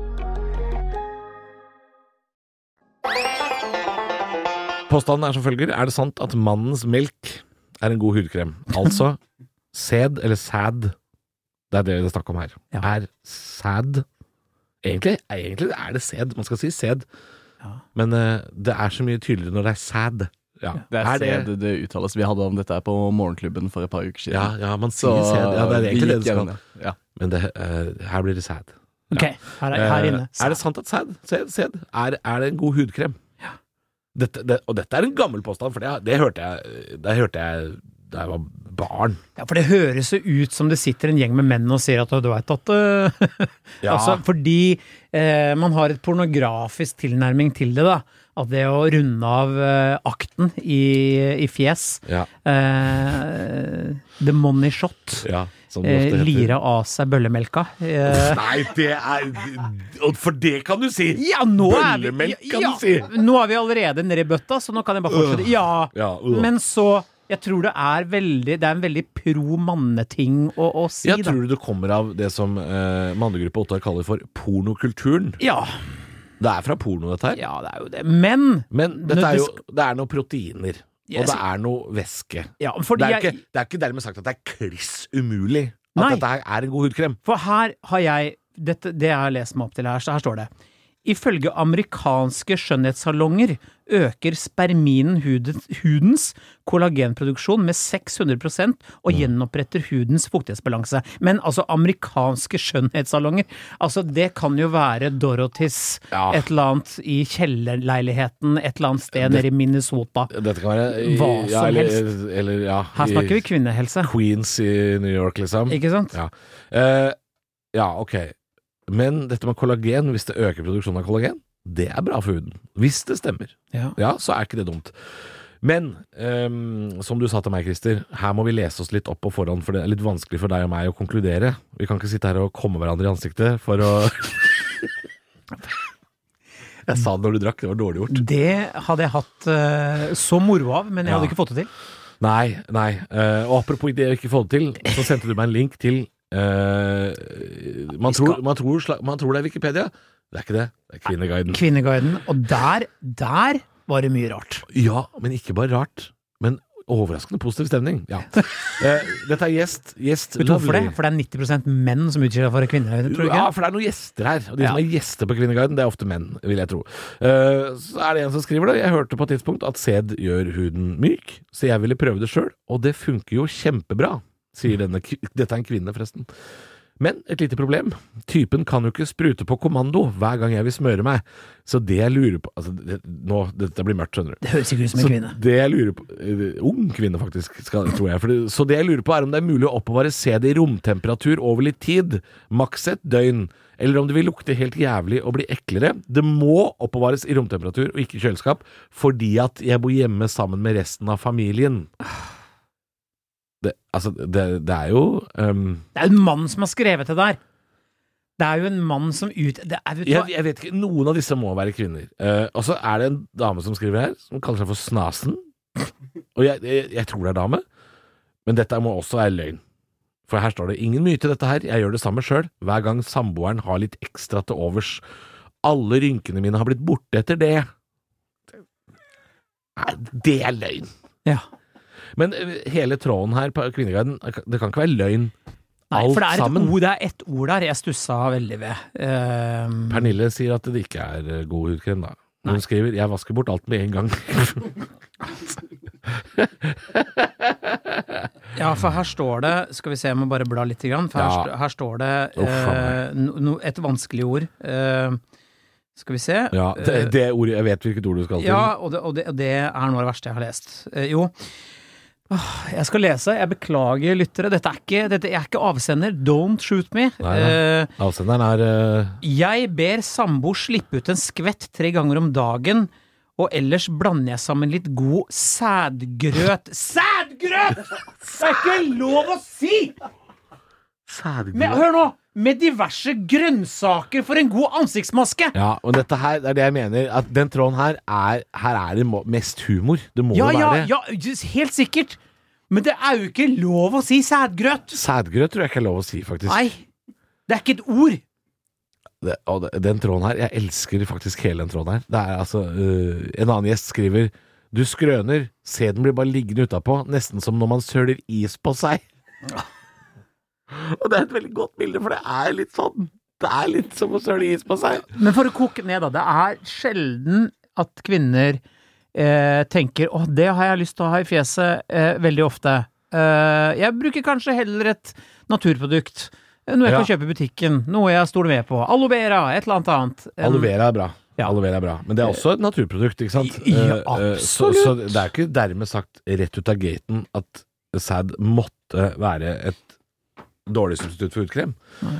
[SPEAKER 1] Påstanden er som følger. Er det sant at mannens melk er en god hudkrem?
[SPEAKER 3] (laughs)
[SPEAKER 1] Altså sæd, eller sæd. Det er det det er snakk om her. Er sæd egentlig, egentlig er det sæd. Man skal si sæd. Men eh, det er så mye tydeligere når det er sæd. Ja,
[SPEAKER 3] Det er, det det uttales. Vi hadde om dette her på Morgenklubben for et par uker siden.
[SPEAKER 1] Ja, ja, man sier sæd. Ja, det er egentlig det du skal
[SPEAKER 3] Ja.
[SPEAKER 1] Men det, eh, her blir det sæd.
[SPEAKER 2] Ok, her, er- her
[SPEAKER 1] Eh,
[SPEAKER 2] inne.
[SPEAKER 1] Er det sant at sæd, sæd, sæd er, er det en god hudkrem? Dette, det, og dette er en gammel påstand, for det, det, hørte, jeg, det hørte jeg da jeg var barn.
[SPEAKER 2] Ja, for det høres jo ut som det sitter en gjeng med menn og sier at du veit at (laughs) eh,
[SPEAKER 1] Ja.
[SPEAKER 2] Altså, fordi eh, man har et pornografisk tilnærming til det, da. At det å runde av eh, akten i, i fjes
[SPEAKER 1] Ja.
[SPEAKER 2] eh, The money shot.
[SPEAKER 1] Ja, som det
[SPEAKER 2] Eh,
[SPEAKER 1] ofte heter.
[SPEAKER 2] lire av seg bøllemelka. Eh,
[SPEAKER 1] (laughs) Nei, det er og For det kan du si!
[SPEAKER 2] Ja, nå
[SPEAKER 1] Bøllemelk,
[SPEAKER 2] er vi,
[SPEAKER 1] kan
[SPEAKER 2] ja,
[SPEAKER 1] du si.
[SPEAKER 2] Nå er vi allerede nede i bøtta, så nå kan jeg bare fortsette. Ja,
[SPEAKER 1] Ja, øh.
[SPEAKER 2] men så Jeg tror det er veldig Det er en veldig pro manneting å, å si,
[SPEAKER 1] Jeg
[SPEAKER 2] da.
[SPEAKER 1] tror det kommer av det som eh, mannegruppa Ottar kaller for pornokulturen.
[SPEAKER 2] Ja,
[SPEAKER 1] Det er fra porno, dette her.
[SPEAKER 2] ja, det er jo det. Men,
[SPEAKER 1] Men dette er jo
[SPEAKER 2] Nødvendigvis-
[SPEAKER 1] Det er noe proteiner.
[SPEAKER 2] Yes.
[SPEAKER 1] Og det er noe væske.
[SPEAKER 2] ja,
[SPEAKER 1] Det
[SPEAKER 2] fordi
[SPEAKER 1] er, ikke,
[SPEAKER 2] jeg,
[SPEAKER 1] det er ikke dermed sagt at det er kliss umulig at
[SPEAKER 2] Nei.
[SPEAKER 1] dette her er en god hudkrem.
[SPEAKER 2] For her har jeg dette, Det jeg har lest meg opp til her, så her står det Ifølge amerikanske skjønnhetssalonger øker sperminen huden, hudens kollagenproduksjon med 600
[SPEAKER 1] Mm.
[SPEAKER 2] og gjenoppretter hudens fuktighetsbalanse. Men altså, amerikanske skjønnhetssalonger altså Det kan jo være Dorothys,
[SPEAKER 1] Ja.
[SPEAKER 2] et eller annet i kjellerleiligheten et eller annet sted nede i Minnesota.
[SPEAKER 1] Dette kan være i-
[SPEAKER 2] Hva som
[SPEAKER 1] ja, eller,
[SPEAKER 2] helst.
[SPEAKER 1] Eller, ja,
[SPEAKER 2] Her snakker
[SPEAKER 1] i
[SPEAKER 2] vi kvinnehelse,
[SPEAKER 1] Queens i New York, liksom.
[SPEAKER 2] ikke sant?
[SPEAKER 1] Ja. Eh, ja, ok. Men dette med kollagen, hvis det øker produksjonen av kollagen, det er bra for huden. Hvis det stemmer.
[SPEAKER 2] Ja.
[SPEAKER 1] Ja, så er ikke det dumt. Men ehm, som du sa til meg, Christer, her må vi lese oss litt opp på forhånd, for det er litt vanskelig for deg og meg å konkludere. Vi kan ikke sitte her og komme hverandre i ansiktet for å (laughs) Jeg sa det når du drakk, det var dårlig gjort.
[SPEAKER 2] Det hadde jeg hatt eh, så moro av, men jeg
[SPEAKER 1] Ja.
[SPEAKER 2] hadde ikke fått det til.
[SPEAKER 1] Nei, nei. Eh, og apropos det å ikke få det til, så sendte du meg en link til eh, man, tror, man, tror, sla- man tror det er Wikipedia. Det er ikke det. Det er Kvinneguiden.
[SPEAKER 2] Kvinneguiden, og der, der var det mye rart.
[SPEAKER 1] Ja, men ikke bare rart. Men Overraskende positiv stemning. Ja. (laughs) Eh, dette er gjest. Gjest
[SPEAKER 2] Vet du hvorfor det?
[SPEAKER 1] lovely.
[SPEAKER 2] For det er 90 menn som utgir seg for kvinner. Tror du ikke?
[SPEAKER 1] Ja, for det er noen gjester her. Og de som
[SPEAKER 2] Ja.
[SPEAKER 1] er gjester på Kvinneguiden, det er ofte menn, vil jeg tro. Eh, så er det en som skriver det. Jeg hørte på et tidspunkt at sæd gjør huden myk, så jeg ville prøve det sjøl, og det funker jo kjempebra, sier denne kvi- Dette er en kvinne, forresten. Men et lite problem. Typen kan jo ikke sprute på kommando hver gang jeg vil smøre meg, så det jeg lurer på Altså, det, nå, dette blir mørkt, skjønner du.
[SPEAKER 2] Det høres ikke ut som en kvinne.
[SPEAKER 1] Så det jeg lurer på eh, Ung kvinne, faktisk, skal, tror jeg. For det, så det jeg lurer på, er om det er mulig å oppbevare sæd i romtemperatur over litt tid, maks et døgn, eller om det vil lukte helt jævlig og bli eklere. Det må oppbevares i romtemperatur og ikke i kjøleskap, fordi at jeg bor hjemme sammen med resten av familien. Det, altså, det, det er jo ehm,
[SPEAKER 2] Det er en mann som har skrevet det der! Det er jo en mann som ut... Det er, vet du hva?
[SPEAKER 1] jeg, jeg vet ikke, Noen av disse må være kvinner. Eh, og så er det en dame som skriver her, som kaller seg for Snasen. Og jeg, jeg, jeg tror det er dame, men dette må også være løgn. For her står det 'ingen myte, dette her, jeg gjør det samme sjøl', hver gang samboeren har litt ekstra til overs. Alle rynkene mine har blitt borte etter det. Nei, det er løgn.
[SPEAKER 2] Ja.
[SPEAKER 1] Men eh, hele tråden her på Kvinneguiden, det kan ikke være løgn.
[SPEAKER 2] Nei,
[SPEAKER 1] Alt
[SPEAKER 2] for det er, et
[SPEAKER 1] sammen.
[SPEAKER 2] ord, det er ett ord der jeg stussa veldig ved. Ehm,
[SPEAKER 1] Pernille sier at det ikke er eh, god hudkrem, da. Hun skriver 'jeg vasker bort alt med en
[SPEAKER 2] (laughs)
[SPEAKER 1] gang'.
[SPEAKER 2] Eh, ja, for her står det Skal vi se, jeg må bare bla litt. grann, For her,
[SPEAKER 1] Ja.
[SPEAKER 2] st- her står det
[SPEAKER 1] Uff,
[SPEAKER 2] eh,
[SPEAKER 1] faen
[SPEAKER 2] no, no, et vanskelig ord. Eh, skal vi se.
[SPEAKER 1] Ja,
[SPEAKER 2] Eh,
[SPEAKER 1] det, det ordet, Jeg vet hvilket ord du skal til.
[SPEAKER 2] Ja, og det, og, det, og det er noe av det verste jeg har lest. Eh, jo. Åh, Jeg skal lese. Jeg beklager, lyttere. Dette er ikke, dette, jeg er ikke avsender. Don't shoot me.
[SPEAKER 1] Nei, nei.
[SPEAKER 2] Eh,
[SPEAKER 1] Avsenderen er eh,
[SPEAKER 2] jeg ber samboer slippe ut en skvett tre ganger om dagen, og ellers blander jeg sammen litt god sædgrøt. Sædgrøt! Det er ikke lov å si! Men, hør nå! Med diverse grønnsaker for en god ansiktsmaske!
[SPEAKER 1] Ja, og dette her det er det jeg mener. At den tråden her er Her er det må- mest humor. Det må
[SPEAKER 2] Ja,
[SPEAKER 1] jo
[SPEAKER 2] ja,
[SPEAKER 1] være det.
[SPEAKER 2] ja, just- helt sikkert. Men det er jo ikke lov å si sædgrøt!
[SPEAKER 1] Sædgrøt tror jeg ikke er lov å si, faktisk.
[SPEAKER 2] Nei. Det er ikke et ord.
[SPEAKER 1] Det, og det- den tråden her Jeg elsker faktisk hele den tråden her. Det er altså eh, En annen gjest skriver Du skrøner, sæden blir bare liggende utapå, nesten som når man søler is på seg. (laughs) og det er et veldig godt bilde, for det er litt sånn. Det er litt som å søle is på seg.
[SPEAKER 2] Men for å koke ned, da. Det er sjelden at kvinner eh, tenker 'Å, det har jeg lyst til å ha i fjeset', eh, veldig ofte. Eh, jeg bruker kanskje heller et naturprodukt. eh, Noe jeg
[SPEAKER 1] Ja.
[SPEAKER 2] kan kjøpe i butikken. Noe jeg stoler med på. Aloe vera, et eller annet annet. En-
[SPEAKER 1] Aloe vera er bra.
[SPEAKER 2] Ja. Eh,
[SPEAKER 1] Aloe vera er bra. Men det er også et naturprodukt, ikke sant?
[SPEAKER 2] Ja,
[SPEAKER 1] Eh, eh, Så,
[SPEAKER 2] absolutt.
[SPEAKER 1] så det er ikke dermed sagt rett ut av gaten at sæd måtte være et dårlig substitutt for hudkrem.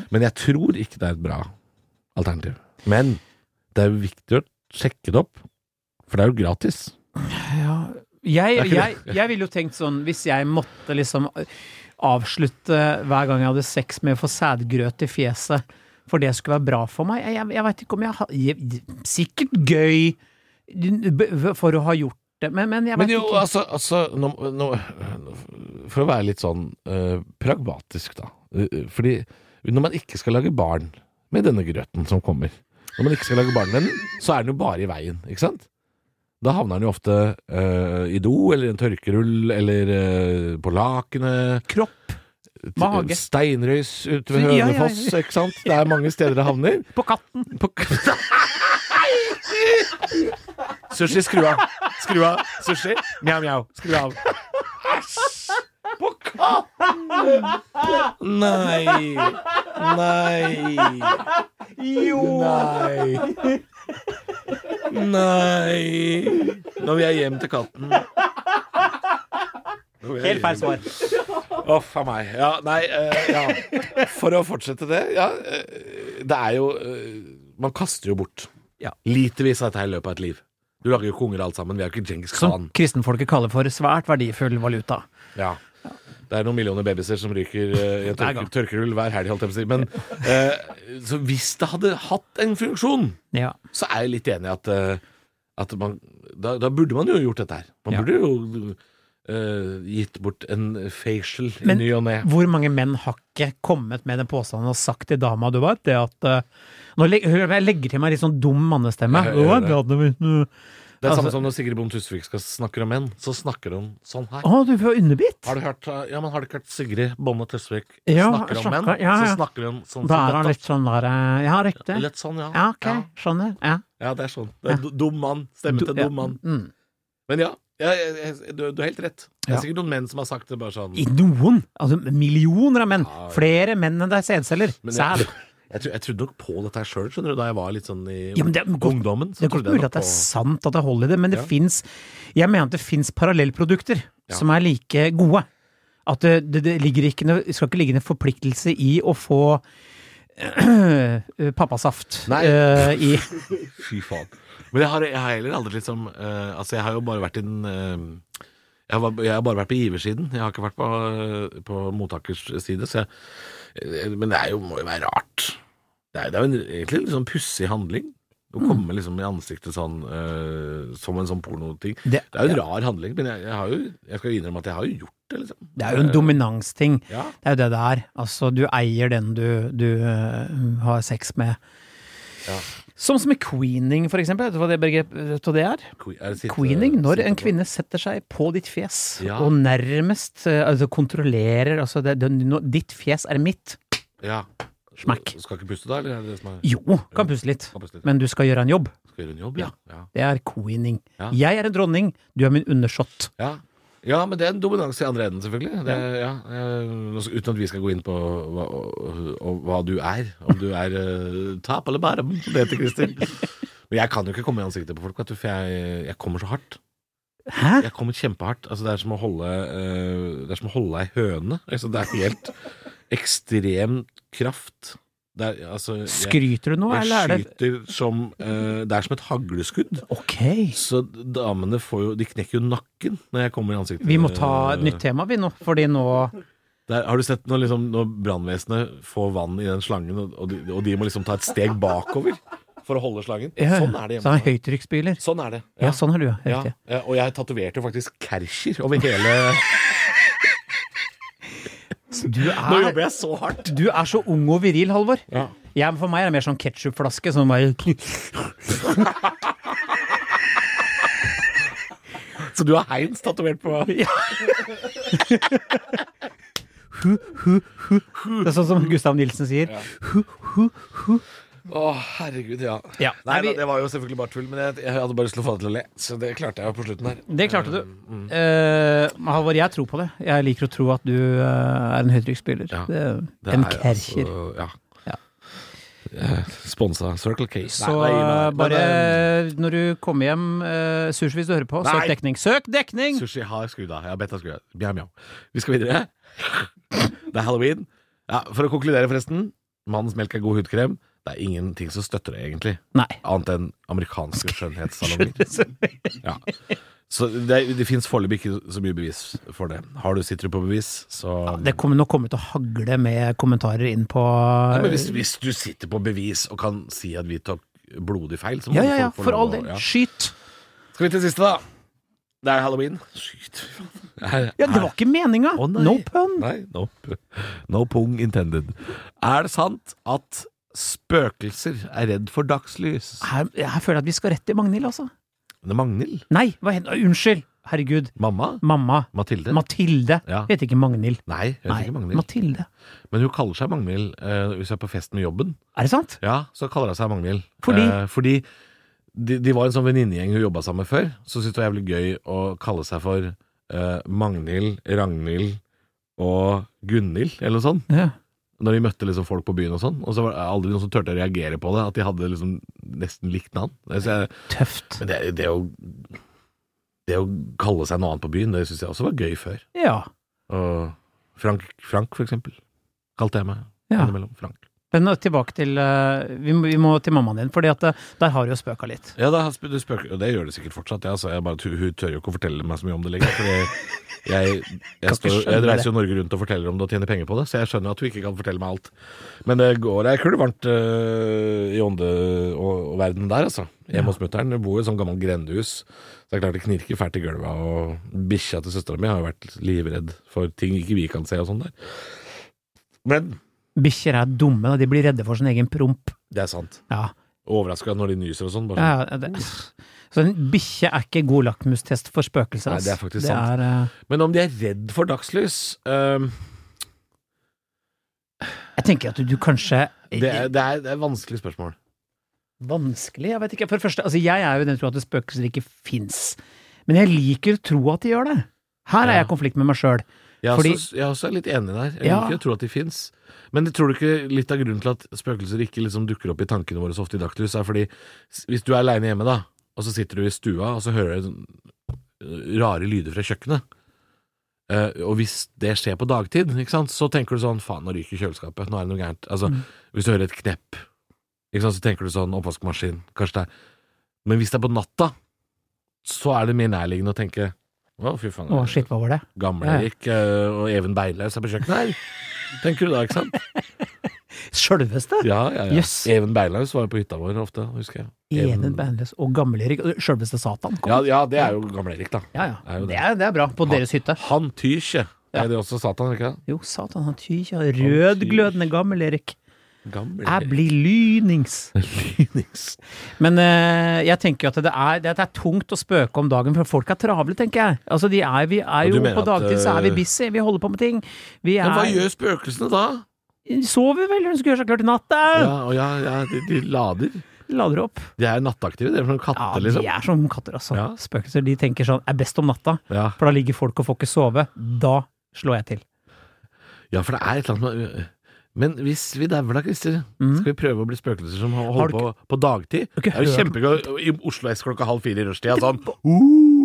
[SPEAKER 1] Men jeg tror ikke det er et bra alternativ. Men det er jo viktig å sjekke det opp, for det er jo gratis.
[SPEAKER 2] Jeg,
[SPEAKER 1] Det er
[SPEAKER 2] jeg,
[SPEAKER 1] ikke
[SPEAKER 2] jeg ville jo tenkt sånn, hvis jeg måtte liksom avslutte hver gang jeg hadde sex med å få sædgrøt i fjeset, for det skulle være bra for meg Jeg, jeg, jeg veit ikke om jeg har jeg, Sikkert gøy b- for å ha gjort det, men, men jeg
[SPEAKER 1] Men
[SPEAKER 2] veit
[SPEAKER 1] jo,
[SPEAKER 2] ikke.
[SPEAKER 1] altså, altså nå, nå, For å være litt sånn eh, pragmatisk, da. Eh, fordi når man ikke skal lage barn med denne grøten som kommer Når man ikke skal lage barn med den, så er den jo bare i veien, ikke sant? Da havner den jo ofte eh, i do, eller en tørkerull, eller eh, på lakenet.
[SPEAKER 2] Kropp,
[SPEAKER 1] t-
[SPEAKER 2] Mage.
[SPEAKER 1] Steinrøys ute ved
[SPEAKER 2] Ja, ja, ja.
[SPEAKER 1] Hønefoss, ikke sant? Det er mange steder det havner.
[SPEAKER 2] på katten.
[SPEAKER 1] På k- (laughs) Sushi, skru av. Skru av. Sushi. Mjau, mjau. Skru av. På katten! Nei. Nei. Jo. Nei. Nei. Nå vil jeg hjem til katten.
[SPEAKER 2] Helt feil svar.
[SPEAKER 1] Uff a meg. Ja, nei eh, ja. For å fortsette det ja, eh, Det er jo eh, Man kaster jo bort
[SPEAKER 2] Ja.
[SPEAKER 1] litervis av dette her i løpet av et liv. Du lager jo konger alt sammen. Vi er jo ikke Djengis
[SPEAKER 2] Som
[SPEAKER 1] Khan.
[SPEAKER 2] kristenfolket kaller for svært verdifull valuta.
[SPEAKER 1] Ja. Det er noen millioner babyser som ryker eh, i en
[SPEAKER 2] Hver
[SPEAKER 1] tørke,
[SPEAKER 2] gang.
[SPEAKER 1] tørkerull hver helg, holdt jeg på å si. Men eh, så hvis det hadde hatt en funksjon,
[SPEAKER 2] Ja.
[SPEAKER 1] så er jeg litt enig i at, eh, at man, da, da burde man jo gjort dette her. Man
[SPEAKER 2] Ja.
[SPEAKER 1] burde jo eh, gitt bort en facial i
[SPEAKER 2] Men-
[SPEAKER 1] ny og ne.
[SPEAKER 2] Hvor mange menn har ikke kommet med den påstanden og sagt til dama du vet det at eh, Nå leg- hør, jeg legger til meg litt sånn dum mannestemme.
[SPEAKER 1] Jeg hører
[SPEAKER 2] «Å, jeg er glad når vi-
[SPEAKER 1] Det er
[SPEAKER 2] Altså-
[SPEAKER 1] samme som når Sigrid Bonde Tusvik skal snakker om menn, så snakker hun sånn her.
[SPEAKER 2] Å, du får underbitt!
[SPEAKER 1] Har du hørt, eh, ja, men har du ikke hørt Sigrid Bonde Tusvik
[SPEAKER 2] Ja,
[SPEAKER 1] snakker om menn?
[SPEAKER 2] snakker- ja, ja.
[SPEAKER 1] Så snakker hun sånn
[SPEAKER 2] Da er
[SPEAKER 1] som
[SPEAKER 2] han
[SPEAKER 1] dette.
[SPEAKER 2] litt sånn der eh, Ja, riktig.
[SPEAKER 1] Litt sånn, ja.
[SPEAKER 2] Ja, ok.
[SPEAKER 1] ja.
[SPEAKER 2] Skjønner. Ja.
[SPEAKER 1] Ja, det er sånn. Det er du- Dum mann. Stemme til
[SPEAKER 2] ja.
[SPEAKER 1] dum mann.
[SPEAKER 2] Mm.
[SPEAKER 1] Men ja, jeg, jeg, jeg, du, du har helt rett. Det er
[SPEAKER 2] Ja.
[SPEAKER 1] sikkert noen menn som har sagt det bare sånn
[SPEAKER 2] I noen! Altså millioner av menn!
[SPEAKER 1] Ja, ja.
[SPEAKER 2] Flere menn enn det er sædceller!
[SPEAKER 1] Men
[SPEAKER 2] Sæd!
[SPEAKER 1] jeg, (laughs) jeg, tror- jeg trodde nok på dette her sjøl, skjønner du, da jeg var litt sånn i
[SPEAKER 2] Ja, men det er godt-
[SPEAKER 1] ungdommen.
[SPEAKER 2] Det er godt mulig at det er sant at det holder i det, men det finnes Jeg mener at det fins parallellprodukter
[SPEAKER 1] Ja.
[SPEAKER 2] som er like gode. At det, det, det ligger ikke noe, skal ikke ligge noen forpliktelse i å få (clears throat) eh, pappasaft
[SPEAKER 1] Nei.
[SPEAKER 2] eh, i
[SPEAKER 1] Fy faen. Men jeg har, jeg har heller aldri liksom eh, Altså, jeg har jo bare vært i den eh, jeg, har, bare- jeg har bare vært på giversiden. Jeg har ikke vært på, eh, på mottakers side, så jeg eh, Men det er jo, må jo være rart. Det er, det er jo en, egentlig en litt sånn pussig handling.
[SPEAKER 2] Mm.
[SPEAKER 1] Å komme liksom i ansiktet sånn eh, som en sånn pornoting.
[SPEAKER 2] Det-
[SPEAKER 1] (laughs) Det er jo en rar handling, men jeg, jeg har jo Jeg skal jo innrømme at jeg har jo gjort det, liksom. Eh,
[SPEAKER 2] Det er jo en dominansting.
[SPEAKER 1] Ja.
[SPEAKER 2] Det er jo det det er. Altså, du eier den du, du øh, har sex med.
[SPEAKER 1] Ja.
[SPEAKER 2] Sånn som med queening, for eksempel. Vet du hva det, begrep, vet du hva det er?
[SPEAKER 1] Que- er det eh, sitte-
[SPEAKER 2] Queening, når
[SPEAKER 1] sitte
[SPEAKER 2] en
[SPEAKER 1] på-
[SPEAKER 2] kvinne setter seg på ditt fjes
[SPEAKER 1] Ja.
[SPEAKER 2] og nærmest øh, altså, kontrollerer altså, det, det, nå- Ditt fjes er mitt.
[SPEAKER 1] ja.
[SPEAKER 2] Smack.
[SPEAKER 1] Skal ikke puste da, eller er det det som er
[SPEAKER 2] Jo, kan puste litt,
[SPEAKER 1] Kan puste litt.
[SPEAKER 2] men du skal gjøre en jobb.
[SPEAKER 1] Skal gjøre en jobb, ja. ja.
[SPEAKER 2] Det er queening.
[SPEAKER 1] Ja.
[SPEAKER 2] Jeg er en dronning, du er min undersått.
[SPEAKER 1] Ja. ja, men det er en dominans i andre enden, selvfølgelig. Det, ja. eh, nå skal- uten at vi skal gå inn på hva, og, og, hva du er. Om du er eh, tap eller bærum, som det heter,
[SPEAKER 2] (laughs)
[SPEAKER 1] Christer. Men jeg kan jo ikke komme i ansiktet på folk, vet du, for jeg, jeg kommer så hardt.
[SPEAKER 2] Hæ?
[SPEAKER 1] Jeg kommer kjempehardt. Altså, det er som å holde eh, Det er som å holde ei høne. Altså, det er helt ekstrem kraft. Det er, altså, jeg,
[SPEAKER 2] Skryter du nå,
[SPEAKER 1] jeg
[SPEAKER 2] eller er det
[SPEAKER 1] skyter som eh, Det er som et hagleskudd.
[SPEAKER 2] Ok.
[SPEAKER 1] Så damene får jo De knekker jo nakken når jeg kommer i ansiktet.
[SPEAKER 2] Vi må ta
[SPEAKER 1] Øh.
[SPEAKER 2] et nytt tema, vi nå, fordi nå
[SPEAKER 1] Der, har du sett når, liksom, når brannvesenet får vann i den slangen, og, og, de, og de må liksom ta et steg bakover for å holde slangen?
[SPEAKER 2] Ja,
[SPEAKER 1] Sånn er det
[SPEAKER 2] Så er det
[SPEAKER 1] hjemme.
[SPEAKER 2] høytrykksspyler.
[SPEAKER 1] Sånn er det.
[SPEAKER 2] Ja, sånn har du, ja.
[SPEAKER 1] Ja,
[SPEAKER 2] Riktig.
[SPEAKER 1] ja, og jeg tatoverte jo faktisk Kercher over hele
[SPEAKER 2] Du
[SPEAKER 1] Nå
[SPEAKER 2] er,
[SPEAKER 1] jobber jeg så hardt!
[SPEAKER 2] du er så ung og viril, Halvor.
[SPEAKER 1] Ja.
[SPEAKER 2] Jeg, for meg er det mer sånn ketsjupflaske som bare
[SPEAKER 1] Så du har Heinz tatovert på
[SPEAKER 2] Det er sånn som Gustav Nilsen sier.
[SPEAKER 1] Å, herregud, ja.
[SPEAKER 2] Ja.
[SPEAKER 1] Nei,
[SPEAKER 2] Nei, vi-
[SPEAKER 1] da, det var jo selvfølgelig bare tull, men jeg, jeg hadde bare lyst til å få deg til å le, så det klarte jeg jo på slutten her.
[SPEAKER 2] Det klarte du.
[SPEAKER 1] Mm,
[SPEAKER 2] Eh, Halvor, jeg tror på det. Jeg liker å tro at du eh, er en høytrykksspyler.
[SPEAKER 1] Ja.
[SPEAKER 2] Det-
[SPEAKER 1] Det
[SPEAKER 2] En
[SPEAKER 1] er
[SPEAKER 2] kercher.
[SPEAKER 1] altså- ja.
[SPEAKER 2] Ja.
[SPEAKER 1] Eh, Sponsa Circle K.
[SPEAKER 2] Så eh,
[SPEAKER 1] Nei, nei, nei,
[SPEAKER 2] bare
[SPEAKER 1] men,
[SPEAKER 2] når du kommer hjem, uh, sushi hvis du hører på, søk
[SPEAKER 1] Nei.
[SPEAKER 2] dekning. Søk
[SPEAKER 1] eh,
[SPEAKER 2] dekning!
[SPEAKER 1] Sushi har skrudd av. Jeg har bedt deg skru av. Mjau, mjau. Vi skal videre. Det er halloween. Ja, for å konkludere, forresten. Mannens melk er god hudkrem. Det er ingenting som støtter det, egentlig.
[SPEAKER 2] Nei.
[SPEAKER 1] Annet enn amerikanske skjønnhetssalonger. Ja. Så det, det fins foreløpig ikke så mye bevis for det. Har du, sitter du på bevis, så
[SPEAKER 2] Det kommer nå kommer til å hagle med kommentarer inn på
[SPEAKER 1] Nei, men hvis, hvis du sitter på bevis og kan si at vi tok blodig feil, så må
[SPEAKER 2] Ja, ja, ja.
[SPEAKER 1] folk få
[SPEAKER 2] For
[SPEAKER 1] lov
[SPEAKER 2] all
[SPEAKER 1] å-
[SPEAKER 2] del.
[SPEAKER 1] ja.
[SPEAKER 2] Skyt.
[SPEAKER 1] Skal vi til siste, da? Det er halloween. Skyt. Her-
[SPEAKER 2] Ja, det var ikke meninga!
[SPEAKER 1] Å, nei.
[SPEAKER 2] no pun!
[SPEAKER 1] Nei, no, p- no pung intended. Er det sant at spøkelser er redd for dagslys?
[SPEAKER 2] Her, her føler jeg at vi skal rett i Magnhild, altså.
[SPEAKER 1] Det er Magnhild?
[SPEAKER 2] Nei, hva heter Unnskyld! Herregud.
[SPEAKER 1] Mamma?
[SPEAKER 2] Mamma.
[SPEAKER 1] Mathilde?
[SPEAKER 2] Mathilde.
[SPEAKER 1] Ja.
[SPEAKER 2] Heter ikke Magnhild.
[SPEAKER 1] Nei, hun
[SPEAKER 2] Nei,
[SPEAKER 1] heter ikke Magnhild.
[SPEAKER 2] Mathilde.
[SPEAKER 1] Men hun kaller seg Magnhild eh, hvis hun er på fest med jobben.
[SPEAKER 2] Er det sant?
[SPEAKER 1] Ja, så kaller hun seg Magnhild.
[SPEAKER 2] Fordi?
[SPEAKER 1] Eh, fordi de, de var en sånn venninnegjeng hun jobba sammen med før. Så syntes det var jævlig gøy å kalle seg for eh, Magnhild, Ragnhild og Gunhild, eller noe sånt.
[SPEAKER 2] Ja.
[SPEAKER 1] Når de møtte liksom folk på byen og sånn. Og så var det aldri noen som turte å reagere på det, at de hadde liksom nesten likt navn. Det, synes jeg,
[SPEAKER 2] Tøft.
[SPEAKER 1] men det, det å Det å kalle seg noe annet på byen, det syns jeg også var gøy før.
[SPEAKER 2] Ja.
[SPEAKER 1] Og Frank, Frank for eksempel, kalte jeg meg
[SPEAKER 2] ja.
[SPEAKER 1] innimellom. Frank.
[SPEAKER 2] Men nå tilbake til eh, vi, må, vi må til mammaen din, for der har du jo spøka litt.
[SPEAKER 1] Ja, da, sp- du spøker, og det gjør det sikkert fortsatt. Ja, så jeg bare, hun tør jo ikke å fortelle meg så mye om det lenger. For jeg, jeg, jeg,
[SPEAKER 2] ikke
[SPEAKER 1] står, jeg
[SPEAKER 2] skjønne
[SPEAKER 1] reiser jo Norge rundt og forteller om det og tjener penger på det, så jeg skjønner at hun ikke kan fortelle meg alt. Men det går ei kule varmt øh, i ånde- og, og verden der, altså. Hjemme hos mutter'n. Hun bor i et sånt gammelt grendehus. Så det er klart det knirker fælt i gulvet. Og bikkja til søstera mi har jo vært livredd for ting ikke vi kan se og sånn der. Men
[SPEAKER 2] Bikkjer er dumme, da. de blir redde for sin egen promp.
[SPEAKER 1] det er sant.
[SPEAKER 2] Ja.
[SPEAKER 1] Overraska når de nyser og sånn. bare sånn.
[SPEAKER 2] Ja, ja, det. Så en bikkje er ikke god lakmustest for spøkelser.
[SPEAKER 1] Nei,
[SPEAKER 2] ass.
[SPEAKER 1] det er faktisk
[SPEAKER 2] det
[SPEAKER 1] sant.
[SPEAKER 2] Er, eh,
[SPEAKER 1] Men om de er redd for dagslys ehm,
[SPEAKER 2] Jeg tenker at du, du kanskje
[SPEAKER 1] det, er, det, er, det er et vanskelig spørsmål.
[SPEAKER 2] Vanskelig? Jeg vet ikke. For det første, altså jeg er jo i den tro at det spøkelser ikke fins. Men jeg liker å tro at de gjør det. Her er
[SPEAKER 1] Ja.
[SPEAKER 2] jeg i konflikt med meg sjøl.
[SPEAKER 1] Jeg, er
[SPEAKER 2] Fordi-
[SPEAKER 1] også, jeg er også litt enig der. Jeg
[SPEAKER 2] Ja.
[SPEAKER 1] liker å tro at de fins. Men tror du ikke litt av grunnen til at spøkelser ikke liksom dukker opp i tankene våre så ofte i dagslys, er fordi s- hvis du er aleine hjemme, da, og så sitter du i stua, og så hører du sånn rare lyder fra kjøkkenet eh, og hvis det skjer på dagtid, ikke sant, så tenker du sånn faen, nå ryker kjøleskapet, nå er det noe gærent. Altså,
[SPEAKER 2] Mm.
[SPEAKER 1] Hvis du hører et knepp, ikke sant, så tenker du sånn oppvaskmaskin, kanskje det er Men hvis det er på natta, så er det mer nærliggende å tenke å, fy faen.
[SPEAKER 2] Å, shit, hva var det? Ja.
[SPEAKER 1] Gamle-Erik eh, og Even Beilhaus er på kjøkkenet her. Tenker du da, ikke sant?
[SPEAKER 2] Sjølveste?
[SPEAKER 1] Ja, ja, ja.
[SPEAKER 2] Jøss.
[SPEAKER 1] Even Beilhaus var jo på hytta vår ofte, husker jeg.
[SPEAKER 2] Even Bandless og Gamle-Erik. Sjølveste Satan. Kom.
[SPEAKER 1] ja, ja, det er jo Gamle-Erik, da.
[SPEAKER 2] Ja,
[SPEAKER 1] Er
[SPEAKER 2] ja.
[SPEAKER 1] jo det.
[SPEAKER 2] Det er, det er bra. På deres hytte.
[SPEAKER 1] Han Tykje. Er det også Satan, er det ikke det?
[SPEAKER 2] Jo, Satan, han tykja.
[SPEAKER 1] tyr.
[SPEAKER 2] Rødglødende Gammel-Erik. Jeg blir lynings.
[SPEAKER 1] (laughs) Lynings.
[SPEAKER 2] Men eh, jeg tenker jo at det er, det er tungt å spøke om dagen, for folk er travle, tenker jeg. Altså, de er, vi er
[SPEAKER 1] Og du
[SPEAKER 2] jo
[SPEAKER 1] mener
[SPEAKER 2] På
[SPEAKER 1] at,
[SPEAKER 2] dagtid så er
[SPEAKER 1] eh,
[SPEAKER 2] vi busy, vi holder på med ting. Vi er,
[SPEAKER 1] Men hva gjør spøkelsene da?
[SPEAKER 2] Sover vel, hun skulle gjøre seg klar til natta!
[SPEAKER 1] Ja, og ja, ja de, de lader.
[SPEAKER 2] Lader opp.
[SPEAKER 1] De er nattaktive, de er som
[SPEAKER 2] Ja,
[SPEAKER 1] katter,
[SPEAKER 2] de
[SPEAKER 1] liksom.
[SPEAKER 2] er som katter, altså.
[SPEAKER 1] Ja.
[SPEAKER 2] Spøkelser. De tenker sånn er best om natta,
[SPEAKER 1] Ja.
[SPEAKER 2] for da ligger folk og får ikke sove. Da slår jeg til.
[SPEAKER 1] ja, for det er et eller annet med men hvis vi dauer da, Christer, skal vi prøve å bli spøkelser som
[SPEAKER 2] Mm. Har
[SPEAKER 1] holder
[SPEAKER 2] du
[SPEAKER 1] på på dagtid? Det
[SPEAKER 2] Har du ikke
[SPEAKER 1] er jo
[SPEAKER 2] hørt-
[SPEAKER 1] kjempegøy i Oslo S klokka halv fire i rushtida, sånn.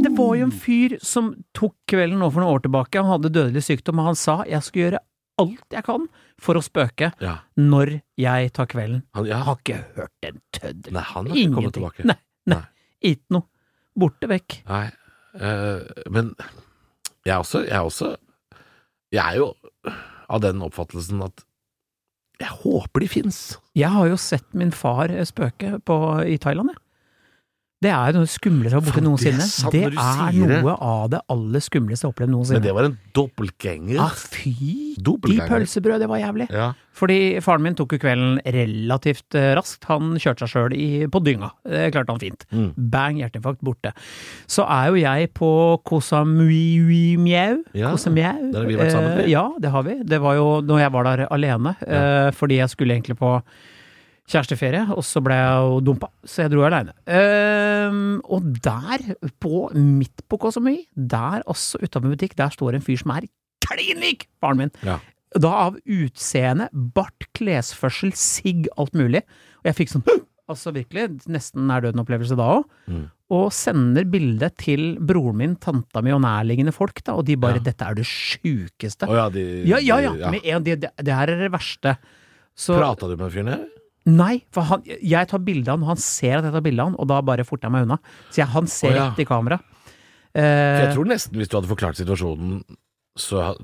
[SPEAKER 2] Det var jo en fyr som tok kvelden nå for noen år tilbake, han hadde dødelig sykdom, og han sa jeg skal gjøre alt jeg kan for å spøke
[SPEAKER 1] Ja,
[SPEAKER 2] når jeg tar kvelden.
[SPEAKER 1] han, ja,
[SPEAKER 2] Jeg har ikke hørt en tøddel.
[SPEAKER 1] Nei, han har ikke kommet tilbake.
[SPEAKER 2] Nei, nei,
[SPEAKER 1] Nei.
[SPEAKER 2] Ikke noe. Borte vekk.
[SPEAKER 1] Nei, eh, men jeg er, også, jeg er også Jeg er jo av den oppfattelsen at jeg håper de fins.
[SPEAKER 2] Jeg har jo sett min far eh, spøke på, i Thailand, jeg. Det er noe skumlere å borte
[SPEAKER 1] Faen, det er
[SPEAKER 2] noensinne.
[SPEAKER 1] sant
[SPEAKER 2] Det
[SPEAKER 1] når du
[SPEAKER 2] er
[SPEAKER 1] sier det.
[SPEAKER 2] noe av det aller skumleste jeg har opplevd
[SPEAKER 1] Men
[SPEAKER 2] noensinne.
[SPEAKER 1] det var en dobbeltganger.
[SPEAKER 2] Ah, fy! De
[SPEAKER 1] Dobbeltganger.
[SPEAKER 2] pølsebrød, det var jævlig.
[SPEAKER 1] Ja.
[SPEAKER 2] Fordi faren min tok jo kvelden relativt eh, raskt. Han kjørte seg sjøl på dynga. Det klarte han fint.
[SPEAKER 1] Mm.
[SPEAKER 2] Bang, hjerteinfarkt, borte. Så er jo jeg på Koh Samui Mjau.
[SPEAKER 1] Ja,
[SPEAKER 2] Koh Samui.
[SPEAKER 1] der har vi vært sammen,
[SPEAKER 2] Eh,
[SPEAKER 1] vi.
[SPEAKER 2] Ja, det har vi. Det var jo når jeg var der alene, eh, fordi jeg skulle egentlig på kjæresteferie, og så ble jeg jo dumpa, så jeg dro aleine. og der, på, midt på Koh Samui, der også utafor butikk, der står en fyr som er klin lik faren min!
[SPEAKER 1] Ja.
[SPEAKER 2] Da av utseende, bart, klesførsel, sigg, alt mulig. Og jeg fikk sånn Altså virkelig, nesten nær døden-opplevelse da òg.
[SPEAKER 1] Mm.
[SPEAKER 2] Og sender bildet til broren min, tanta mi og nærliggende folk, da, og de bare 'Dette er det sjukeste'.
[SPEAKER 1] Å ja, de,
[SPEAKER 2] Ja, ja, ja!
[SPEAKER 1] de-
[SPEAKER 2] Med en, det, det det her er det verste. Så,
[SPEAKER 1] Prata du med fyren
[SPEAKER 2] Eh.
[SPEAKER 1] her?
[SPEAKER 2] Nei, for han, jeg tar bilde av han, og han ser at jeg tar bilde av han, og da bare forter jeg meg unna. Så jeg, han ser
[SPEAKER 1] Å, ja.
[SPEAKER 2] rett i kamera.
[SPEAKER 1] For Jeg
[SPEAKER 2] Eh,
[SPEAKER 1] tror nesten hvis du hadde forklart situasjonen, så ha-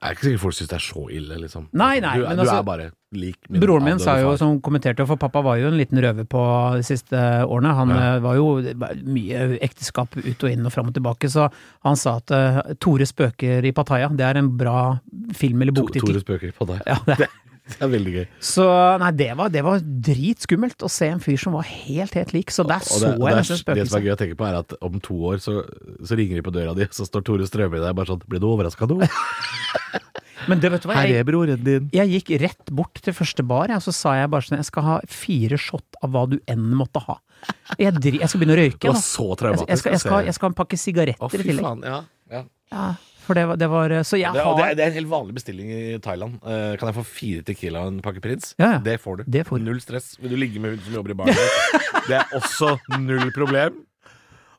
[SPEAKER 1] er ikke sikkert folk syns det er så ille, liksom.
[SPEAKER 2] Nei, nei,
[SPEAKER 1] du,
[SPEAKER 2] men
[SPEAKER 1] du
[SPEAKER 2] altså-
[SPEAKER 1] er bare lik min
[SPEAKER 2] broren min
[SPEAKER 1] avdøde
[SPEAKER 2] sa jo,
[SPEAKER 1] far.
[SPEAKER 2] som kommenterte, for pappa var jo en liten røver på de siste årene. Han
[SPEAKER 1] Ja.
[SPEAKER 2] eh, var jo det var mye ekteskap ut og inn og fram og tilbake, så han sa at eh, Tore spøker i Pattaya, det er en bra film eller
[SPEAKER 1] To-
[SPEAKER 2] boktittel.
[SPEAKER 1] Tore spøker på deg.
[SPEAKER 2] Ja, det,
[SPEAKER 1] (laughs) Det er veldig gøy.
[SPEAKER 2] så nei, det var, det var dritskummelt å se en fyr som var helt, helt lik, så der
[SPEAKER 1] Og det, og
[SPEAKER 2] så
[SPEAKER 1] det,
[SPEAKER 2] jeg
[SPEAKER 1] er,
[SPEAKER 2] nesten
[SPEAKER 1] det som er
[SPEAKER 2] spøkelset.
[SPEAKER 1] gøy å tenke på, er at om to år så, så ringer de på døra di, så står Tore Strømøy der bare sånn 'Ble du overraska
[SPEAKER 2] (laughs)
[SPEAKER 1] nå?'
[SPEAKER 2] Men det, vet du hva, jeg,
[SPEAKER 1] Her er broren din.
[SPEAKER 2] jeg gikk rett bort til første bar, og så sa jeg bare sånn Jeg skal ha fire shot av hva du enn måtte ha. Jeg, dri, jeg skal begynne å røyke.
[SPEAKER 1] Det var
[SPEAKER 2] da.
[SPEAKER 1] så
[SPEAKER 2] Jeg,
[SPEAKER 1] traumatisk.
[SPEAKER 2] jeg, skal, jeg, skal,
[SPEAKER 1] å
[SPEAKER 2] jeg
[SPEAKER 1] se.
[SPEAKER 2] skal ha en pakke
[SPEAKER 1] Å,
[SPEAKER 2] sigaretter i
[SPEAKER 1] fy
[SPEAKER 2] tillegg.
[SPEAKER 1] faen. Ja. ja.
[SPEAKER 2] Ja, for det, var- det var Så jeg
[SPEAKER 1] Det, og det,
[SPEAKER 2] har
[SPEAKER 1] er, det er en helt vanlig bestilling i Thailand. Eh, kan jeg få fire Tequila og en pakke Prins?
[SPEAKER 2] Ja, ja.
[SPEAKER 1] Det får du.
[SPEAKER 2] Det får du.
[SPEAKER 1] Null stress. Vil du ligge med hun som jobber i
[SPEAKER 2] (laughs)
[SPEAKER 1] baren? det er også null problem.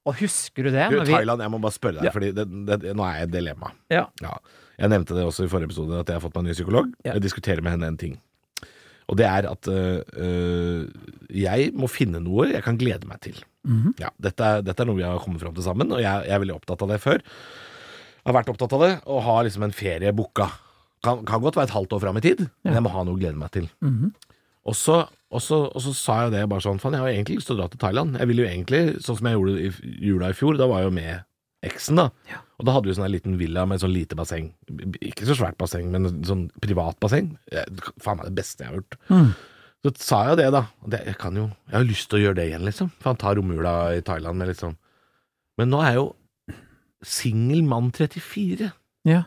[SPEAKER 2] Og husker du det?
[SPEAKER 1] Du,
[SPEAKER 2] når vi-
[SPEAKER 1] Thailand, jeg må bare spørre deg,
[SPEAKER 2] Ja.
[SPEAKER 1] Fordi det, det, nå er jeg i et dilemma.
[SPEAKER 2] Ja.
[SPEAKER 1] Ja. Jeg nevnte det også i forrige episode, at jeg har fått meg en ny psykolog.
[SPEAKER 2] Ja.
[SPEAKER 1] Jeg diskuterer med henne en ting. Og det er at øh, øh, jeg må finne noe jeg kan glede meg til. ja, dette, er, dette er noe vi har kommet fram til sammen, og jeg, jeg er veldig opptatt av det før. Har vært opptatt av det, og har liksom en ferie booka. Kan, kan godt være et halvt år fram i tid, men jeg må ha noe å glede meg til. Og så, og, så, og så sa jeg det bare sånn Faen, jeg har jo egentlig lyst til å dra til Thailand. Jeg ville jo egentlig, sånn som jeg gjorde i f- jula i fjor, da var jeg jo med eksen, da. Og da hadde vi sånn en liten villa med sånn lite basseng.
[SPEAKER 2] Mm.
[SPEAKER 1] B- Ikke så svært basseng, men sånn privat basseng. Eh, Faen meg det beste jeg har gjort. Så sa jeg jo det, da. Og Det, jeg kan jo Jeg har lyst til å gjøre det igjen, liksom. For han tar romjula i Thailand med, liksom. Men nå er jeg jo singel mann 34.
[SPEAKER 2] Ja.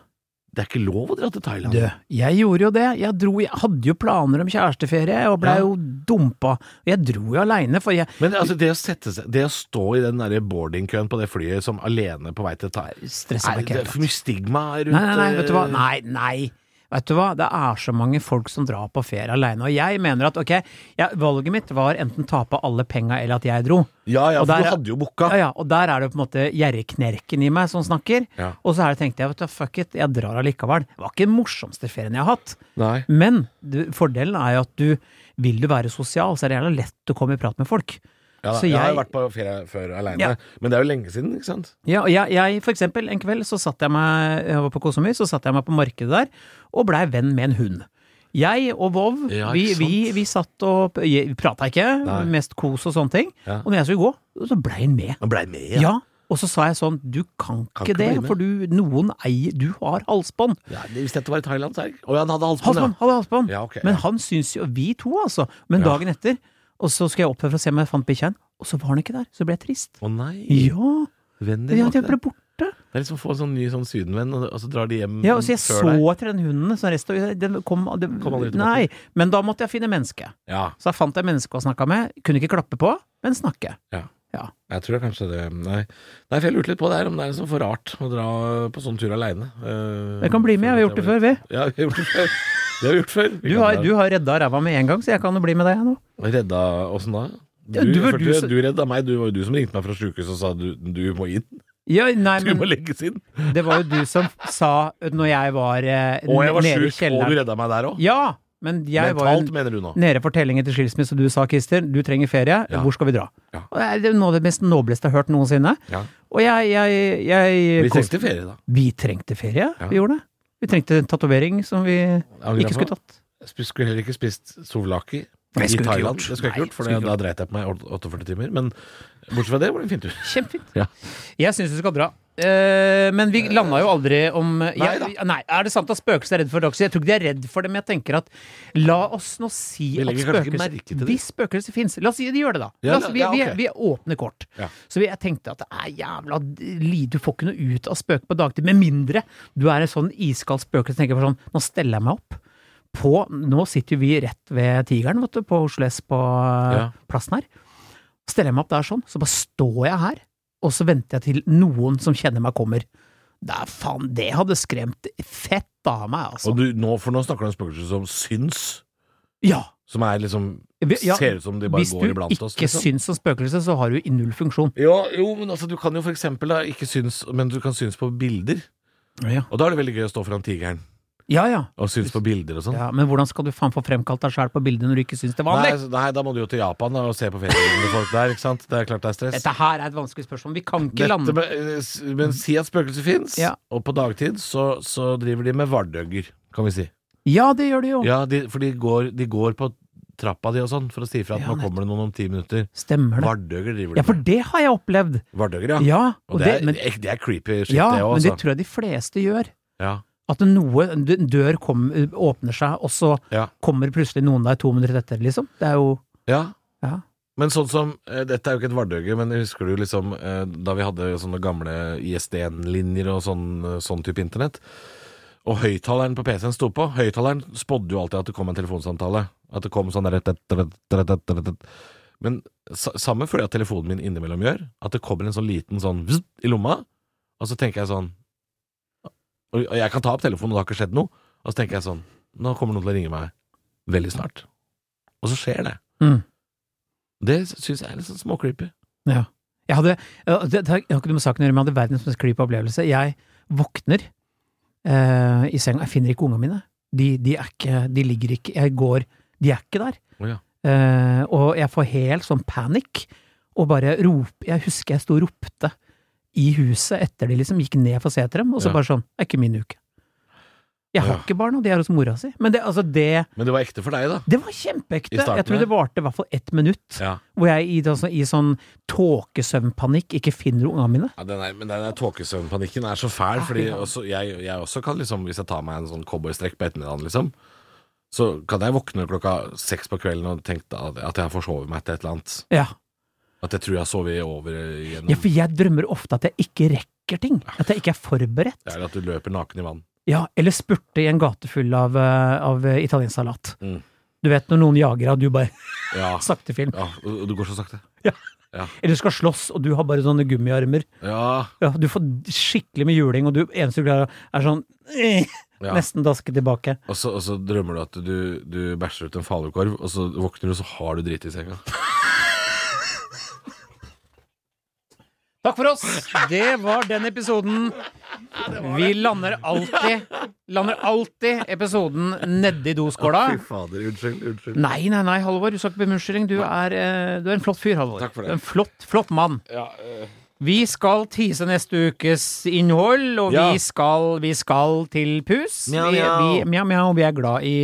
[SPEAKER 1] Det er ikke lov å dra til Thailand.
[SPEAKER 2] Du, jeg gjorde jo det. Jeg, dro, jeg hadde jo planer om kjæresteferie, og blei
[SPEAKER 1] Ja.
[SPEAKER 2] jo dumpa. Og Jeg dro jo aleine, for jeg
[SPEAKER 1] Men altså, det å sette seg Det å stå i den derre boardingkøen på det flyet som alene på vei til Thailand
[SPEAKER 2] stressa meg
[SPEAKER 1] det
[SPEAKER 2] ikke
[SPEAKER 1] er
[SPEAKER 2] helt.
[SPEAKER 1] for mye stigma rundt
[SPEAKER 2] altså. Nei, nei, nei, vet du hva.
[SPEAKER 1] eh,
[SPEAKER 2] Nei, nei. Vet du hva, det er så mange folk som drar på ferie aleine, og jeg mener at ok, ja, valget mitt var enten tape alle penga eller at jeg dro.
[SPEAKER 1] Ja, ja,
[SPEAKER 2] Og
[SPEAKER 1] for
[SPEAKER 2] der
[SPEAKER 1] du
[SPEAKER 2] er-
[SPEAKER 1] hadde jo booka.
[SPEAKER 2] Ja, ja, og der er det på en måte gjerriknerken i meg som snakker,
[SPEAKER 1] Ja.
[SPEAKER 2] og så er det tenkte jeg, vet du, fuck it, jeg drar allikevel. Det var ikke den morsomste ferien jeg har hatt,
[SPEAKER 1] Nei.
[SPEAKER 2] men du, fordelen er jo at du, vil du være sosial, så er det gjerne lett å komme i prat med folk.
[SPEAKER 1] Ja, da,
[SPEAKER 2] Så
[SPEAKER 1] jeg, har
[SPEAKER 2] jeg-
[SPEAKER 1] jo vært på ferie før aleine,
[SPEAKER 2] Ja.
[SPEAKER 1] men det er jo lenge siden, ikke sant?
[SPEAKER 2] Ja, og jeg, jeg, for eksempel, en kveld så satt jeg meg, jeg var på Kosomøy, så satt jeg meg på markedet der, og blei venn med en hund. Jeg og Vov,
[SPEAKER 1] Ja, ikke
[SPEAKER 2] vi,
[SPEAKER 1] sant?
[SPEAKER 2] vi, vi satt og vi prata ikke,
[SPEAKER 1] Nei.
[SPEAKER 2] mest kos og sånne ting.
[SPEAKER 1] Ja.
[SPEAKER 2] Og når jeg skulle gå, så blei han med.
[SPEAKER 1] Han blei med,
[SPEAKER 2] Ja. Og så sa jeg sånn, du kan,
[SPEAKER 1] Kan
[SPEAKER 2] ikke
[SPEAKER 1] ikke
[SPEAKER 2] det,
[SPEAKER 1] bli med.
[SPEAKER 2] for du, noen eier, du har halsbånd.
[SPEAKER 1] Ja, det- hvis dette var i Thailand, så er det ikke Å Sånn, ja, han hadde halsbånd,
[SPEAKER 2] Halsbånd, hadde halsbånd.
[SPEAKER 1] Ja, ok,
[SPEAKER 2] Men
[SPEAKER 1] ja.
[SPEAKER 2] han syns jo, vi to altså, men
[SPEAKER 1] Ja.
[SPEAKER 2] dagen etter, og så skal jeg opp her for å se om jeg fant bikkja, og så var han ikke der, så ble jeg trist.
[SPEAKER 1] Å nei,
[SPEAKER 2] Ja,
[SPEAKER 1] vennen din
[SPEAKER 2] ja
[SPEAKER 1] var ikke
[SPEAKER 2] jeg ble
[SPEAKER 1] der.
[SPEAKER 2] borte.
[SPEAKER 1] Det er liksom å få en sånn ny sånn sydenvenn, og, og så drar de hjem
[SPEAKER 2] Ja, og så jeg
[SPEAKER 1] Mm, før
[SPEAKER 2] så
[SPEAKER 1] deg.
[SPEAKER 2] etter den hunden, så resten av den kom, den,
[SPEAKER 1] Kom aldri tilbake.
[SPEAKER 2] Nei, men da måtte jeg finne menneske.
[SPEAKER 1] Ja,
[SPEAKER 2] Så jeg fant et menneske å snakke med. Kunne ikke klappe på, men snakke.
[SPEAKER 1] jeg tror kanskje det Nei, nei for jeg lurte litt på det her, om det er liksom for rart å dra på sånn tur Eh, aleine.
[SPEAKER 2] Jeg kan bli
[SPEAKER 1] Mm,
[SPEAKER 2] med, jeg har gjort det før, vi.
[SPEAKER 1] Ja, vi har gjort det før. Det har vi gjort før. Vi
[SPEAKER 2] Du
[SPEAKER 1] kan
[SPEAKER 2] har,
[SPEAKER 1] dra.
[SPEAKER 2] du har redda ræva med en gang, så jeg kan jo bli med deg nå.
[SPEAKER 1] Redda åssen da? Du,
[SPEAKER 2] Ja, du var
[SPEAKER 1] for
[SPEAKER 2] du
[SPEAKER 1] du,
[SPEAKER 2] som-
[SPEAKER 1] du redda meg, du var jo du som ringte meg fra sjukehuset og sa du, du må inn.
[SPEAKER 2] Ja, nei,
[SPEAKER 1] Du må
[SPEAKER 2] men
[SPEAKER 1] legges inn.
[SPEAKER 2] det var jo du som sa når jeg var eh,
[SPEAKER 1] Og jeg var
[SPEAKER 2] nede
[SPEAKER 1] sjuk, og
[SPEAKER 2] i
[SPEAKER 1] du
[SPEAKER 2] kjelleren
[SPEAKER 1] redda meg der òg.
[SPEAKER 2] Ja, men jeg var
[SPEAKER 1] Mentalt,
[SPEAKER 2] jo
[SPEAKER 1] mener du nå.
[SPEAKER 2] nede for tellingen til skilsmisse, og du sa, Christer, du trenger ferie,
[SPEAKER 1] Ja.
[SPEAKER 2] hvor skal vi dra?
[SPEAKER 1] Ja.
[SPEAKER 2] Og det er jo noe av det mest nobleste jeg har hørt noensinne.
[SPEAKER 1] Ja.
[SPEAKER 2] Og jeg, jeg, jeg
[SPEAKER 1] Vi trengte ferie, da.
[SPEAKER 2] Vi trengte ferie,
[SPEAKER 1] Ja.
[SPEAKER 2] vi gjorde det. Vi trengte en tatovering som vi
[SPEAKER 1] Angrer
[SPEAKER 2] ikke
[SPEAKER 1] på.
[SPEAKER 2] skulle tatt.
[SPEAKER 1] Sp- Skulle heller ikke spist souvlaki
[SPEAKER 2] Det
[SPEAKER 1] i
[SPEAKER 2] skulle jeg ikke
[SPEAKER 1] Thailand.
[SPEAKER 2] gjort.
[SPEAKER 1] Det skulle jeg
[SPEAKER 2] Nei,
[SPEAKER 1] ikke gjort, for
[SPEAKER 2] skulle jeg
[SPEAKER 1] da dreit jeg på meg i åt- 48 timer. Men bortsett fra det var det en (laughs) fin tur.
[SPEAKER 2] Kjempefint.
[SPEAKER 1] Ja.
[SPEAKER 2] Jeg syns du skal dra. Eh, men vi landa jo aldri om jeg,
[SPEAKER 1] da.
[SPEAKER 2] nei, Er det sant at spøkelser er redd for dagsrevy? Jeg tror ikke de er redd for det, men jeg tenker at la oss nå si
[SPEAKER 1] Vi
[SPEAKER 2] at
[SPEAKER 1] legger kanskje ikke merke til
[SPEAKER 2] spøkelser
[SPEAKER 1] det.
[SPEAKER 2] Hvis spøkelser fins La oss si de gjør det, da.
[SPEAKER 1] Ja,
[SPEAKER 2] La
[SPEAKER 1] ja,
[SPEAKER 2] oss, vi,
[SPEAKER 1] ja, ok.
[SPEAKER 2] vi, vi åpner kort.
[SPEAKER 1] Ja.
[SPEAKER 2] Så vi, jeg tenkte at det er jævla li- Du får ikke noe ut av spøket på dagtid, med mindre du er en sånn iskald spøkelse som tenker for sånn Nå steller jeg meg opp. På, nå sitter jo vi rett ved Tigeren, vet du, på Oslo S, på eh,
[SPEAKER 1] Ja.
[SPEAKER 2] plassen her. steller jeg meg opp der sånn, så bare står jeg her, og så venter jeg til noen som kjenner meg kommer. Det er faen, det hadde skremt fett av meg, altså.
[SPEAKER 1] Og du, nå, for nå snakker du om spøkelser som syns,
[SPEAKER 2] ja,
[SPEAKER 1] som er liksom
[SPEAKER 2] vi- ja,
[SPEAKER 1] Ser ut som de bare
[SPEAKER 2] hvis
[SPEAKER 1] går
[SPEAKER 2] du
[SPEAKER 1] iblant
[SPEAKER 2] ikke
[SPEAKER 1] oss. Liksom.
[SPEAKER 2] syns som spøkelse, så har du i null funksjon.
[SPEAKER 1] Ja, jo, men altså, du kan jo for eksempel da, ikke syns, men du kan synes på bilder.
[SPEAKER 2] Ja,
[SPEAKER 1] Og da er det veldig gøy å stå foran tigeren
[SPEAKER 2] ja. ja.
[SPEAKER 1] og synes på bilder og sånn.
[SPEAKER 2] ja men hvordan skal du faen få fremkalt deg sjæl på bildet når du ikke syns det er vanlig?
[SPEAKER 1] Nei, så- nei, da må du jo til Japan da, og se på feriebildene til folk der, ikke sant. Det er klart det er stress.
[SPEAKER 2] Dette her er et vanskelig spørsmål. Vi kan ikke
[SPEAKER 1] Dette
[SPEAKER 2] lande
[SPEAKER 1] med- eh, s- men si at spøkelser fins,
[SPEAKER 2] Ja.
[SPEAKER 1] og på dagtid så, så driver de med vardøgger, kan vi si.
[SPEAKER 2] Ja, det gjør det jo.
[SPEAKER 1] Ja, de, for de går, de går på trappa di og sånn for å si ifra at
[SPEAKER 2] Ja,
[SPEAKER 1] nå kommer det noen om ti minutter.
[SPEAKER 2] Stemmer det.
[SPEAKER 1] Vardøgger driver
[SPEAKER 2] Ja,
[SPEAKER 1] de
[SPEAKER 2] for
[SPEAKER 1] med.
[SPEAKER 2] det har jeg opplevd.
[SPEAKER 1] Vardøgger, ja.
[SPEAKER 2] Ja,
[SPEAKER 1] og
[SPEAKER 2] og
[SPEAKER 1] det, er,
[SPEAKER 2] men,
[SPEAKER 1] ek- det er creepy shit,
[SPEAKER 2] ja,
[SPEAKER 1] det òg,
[SPEAKER 2] men det
[SPEAKER 1] altså.
[SPEAKER 2] tror jeg de fleste gjør.
[SPEAKER 1] Ja.
[SPEAKER 2] At noe, en dø- dør kom, åpner seg, og så
[SPEAKER 1] Ja.
[SPEAKER 2] kommer plutselig noen der to minutter etter, liksom. Det er jo
[SPEAKER 1] ja.
[SPEAKER 2] Ja.
[SPEAKER 1] Men sånn som eh, Dette er jo ikke et vardøge, men husker du liksom eh, da vi hadde sånne gamle ISDN-linjer og sånn, eh, sånn type internett? Og høyttaleren på PC-en sto på. Høyttaleren spådde jo alltid at det kom en telefonsamtale. At det kom sånn der tet, tet, tet, tet, tet, tet. Men sa- samme føler jeg at telefonen min innimellom gjør. At det kommer en sånn liten sånn vzz i lomma, og så tenker jeg sånn Og og jeg kan ta opp telefonen, og det har ikke skjedd noe. Og så tenker jeg sånn Nå kommer noen til å ringe meg veldig snart. Og så skjer det.
[SPEAKER 2] Mm.
[SPEAKER 1] Det syns jeg er litt sånn småcreepy.
[SPEAKER 2] Jeg hadde ja, det, det har ikke noe med saken å gjøre, men jeg hadde verdens mest creepy opplevelse. Jeg våkner eh, i senga, jeg finner ikke ungene mine. De, de er ikke De ligger ikke Jeg går De er ikke der.
[SPEAKER 1] Å ja.
[SPEAKER 2] Eh, og jeg får helt sånn panikk, og bare rop Jeg husker jeg sto og ropte i huset etter de liksom gikk ned for å se etter dem, og så
[SPEAKER 1] Ja.
[SPEAKER 2] bare sånn Det er ikke min uke. Jeg har
[SPEAKER 1] Ja.
[SPEAKER 2] ikke barn, og de er hos mora si. Men det, altså, det
[SPEAKER 1] Men det var ekte for deg, da.
[SPEAKER 2] Det var kjempeekte!
[SPEAKER 1] I starten
[SPEAKER 2] Jeg tror det varte i hvert fall ett minutt,
[SPEAKER 1] Ja,
[SPEAKER 2] hvor jeg i, da- i sånn tåkesøvnpanikk ikke finner ungene mine.
[SPEAKER 1] den er, Men den der tåkesøvnpanikken er så fæl,
[SPEAKER 2] Ja,
[SPEAKER 1] fordi
[SPEAKER 2] ja.
[SPEAKER 1] også, jeg, jeg også kan liksom Hvis jeg tar meg en sånn cowboystrekk på ettermiddagen, liksom, så kan jeg våkne klokka seks på kvelden og tenke da at at jeg har forsovet meg til et eller annet.
[SPEAKER 2] Ja.
[SPEAKER 1] At jeg tror jeg har sovet over gjennom
[SPEAKER 2] ja, for jeg drømmer ofte at jeg ikke rekker ting. At jeg ikke er forberedt.
[SPEAKER 1] Eller at du løper naken i vann.
[SPEAKER 2] Ja, eller spurte i en gate full av, eh, av eh, italiensk salat.
[SPEAKER 1] Mm.
[SPEAKER 2] Du vet når noen jager og du bare (laughs)
[SPEAKER 1] Ja,
[SPEAKER 2] sakte film.
[SPEAKER 1] ja og og du går så sakte.
[SPEAKER 2] Eller skal slåss og du har bare sånne gummiarmer.
[SPEAKER 1] Ja,
[SPEAKER 2] Ja, du får skikkelig med juling, og du eneste du klarer, er sånn (laughs) eh,
[SPEAKER 1] ja.
[SPEAKER 2] Nesten daske tilbake.
[SPEAKER 1] Og så, og så drømmer du at du, du bæsjer ut en falukorv, og så våkner du, og så har du drit i senga.
[SPEAKER 2] Takk for oss! Det var den episoden. Vi lander alltid Lander alltid episoden nedi doskåla.
[SPEAKER 4] Fy fader, unnskyld. unnskyld
[SPEAKER 2] Nei, nei, nei, Halvor. Du skal ikke be om unnskyldning. Du, er, eh, du er en flott fyr, Halvor.
[SPEAKER 1] Takk for det.
[SPEAKER 2] Du er En flott, flott mann. Vi skal tease neste ukes innhold, og
[SPEAKER 1] Ja.
[SPEAKER 2] vi, skal, vi skal til pus.
[SPEAKER 4] Mjau,
[SPEAKER 2] vi,
[SPEAKER 4] mjau.
[SPEAKER 2] vi, mjau, mjau, vi er glad i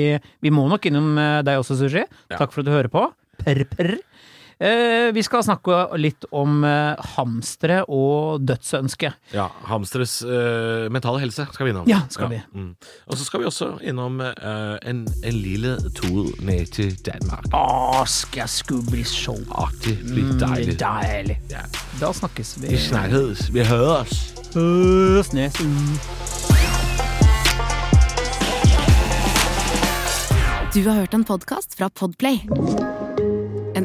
[SPEAKER 2] Vi må nok innom eh, deg også, Sushi. Takk for at du hører på. Perr, perr. Eh, vi skal snakke litt om eh, hamstere og dødsønske.
[SPEAKER 1] Ja, Hamsteres eh, mentale helse skal vi innom.
[SPEAKER 2] Ja, skal
[SPEAKER 1] vi. Mm. Og så skal vi også innom eh, en, en lille tur ned til Danmark.
[SPEAKER 2] Å, skal jeg skulle bli så
[SPEAKER 1] Ah, det blir
[SPEAKER 2] Mm,
[SPEAKER 1] deilig.
[SPEAKER 2] deilig.
[SPEAKER 1] Ja.
[SPEAKER 2] Da snakkes vi.
[SPEAKER 1] Vi snakkes. Vi høres.
[SPEAKER 2] Pus, nes.
[SPEAKER 5] Du har hørt en podcast fra Podplay. En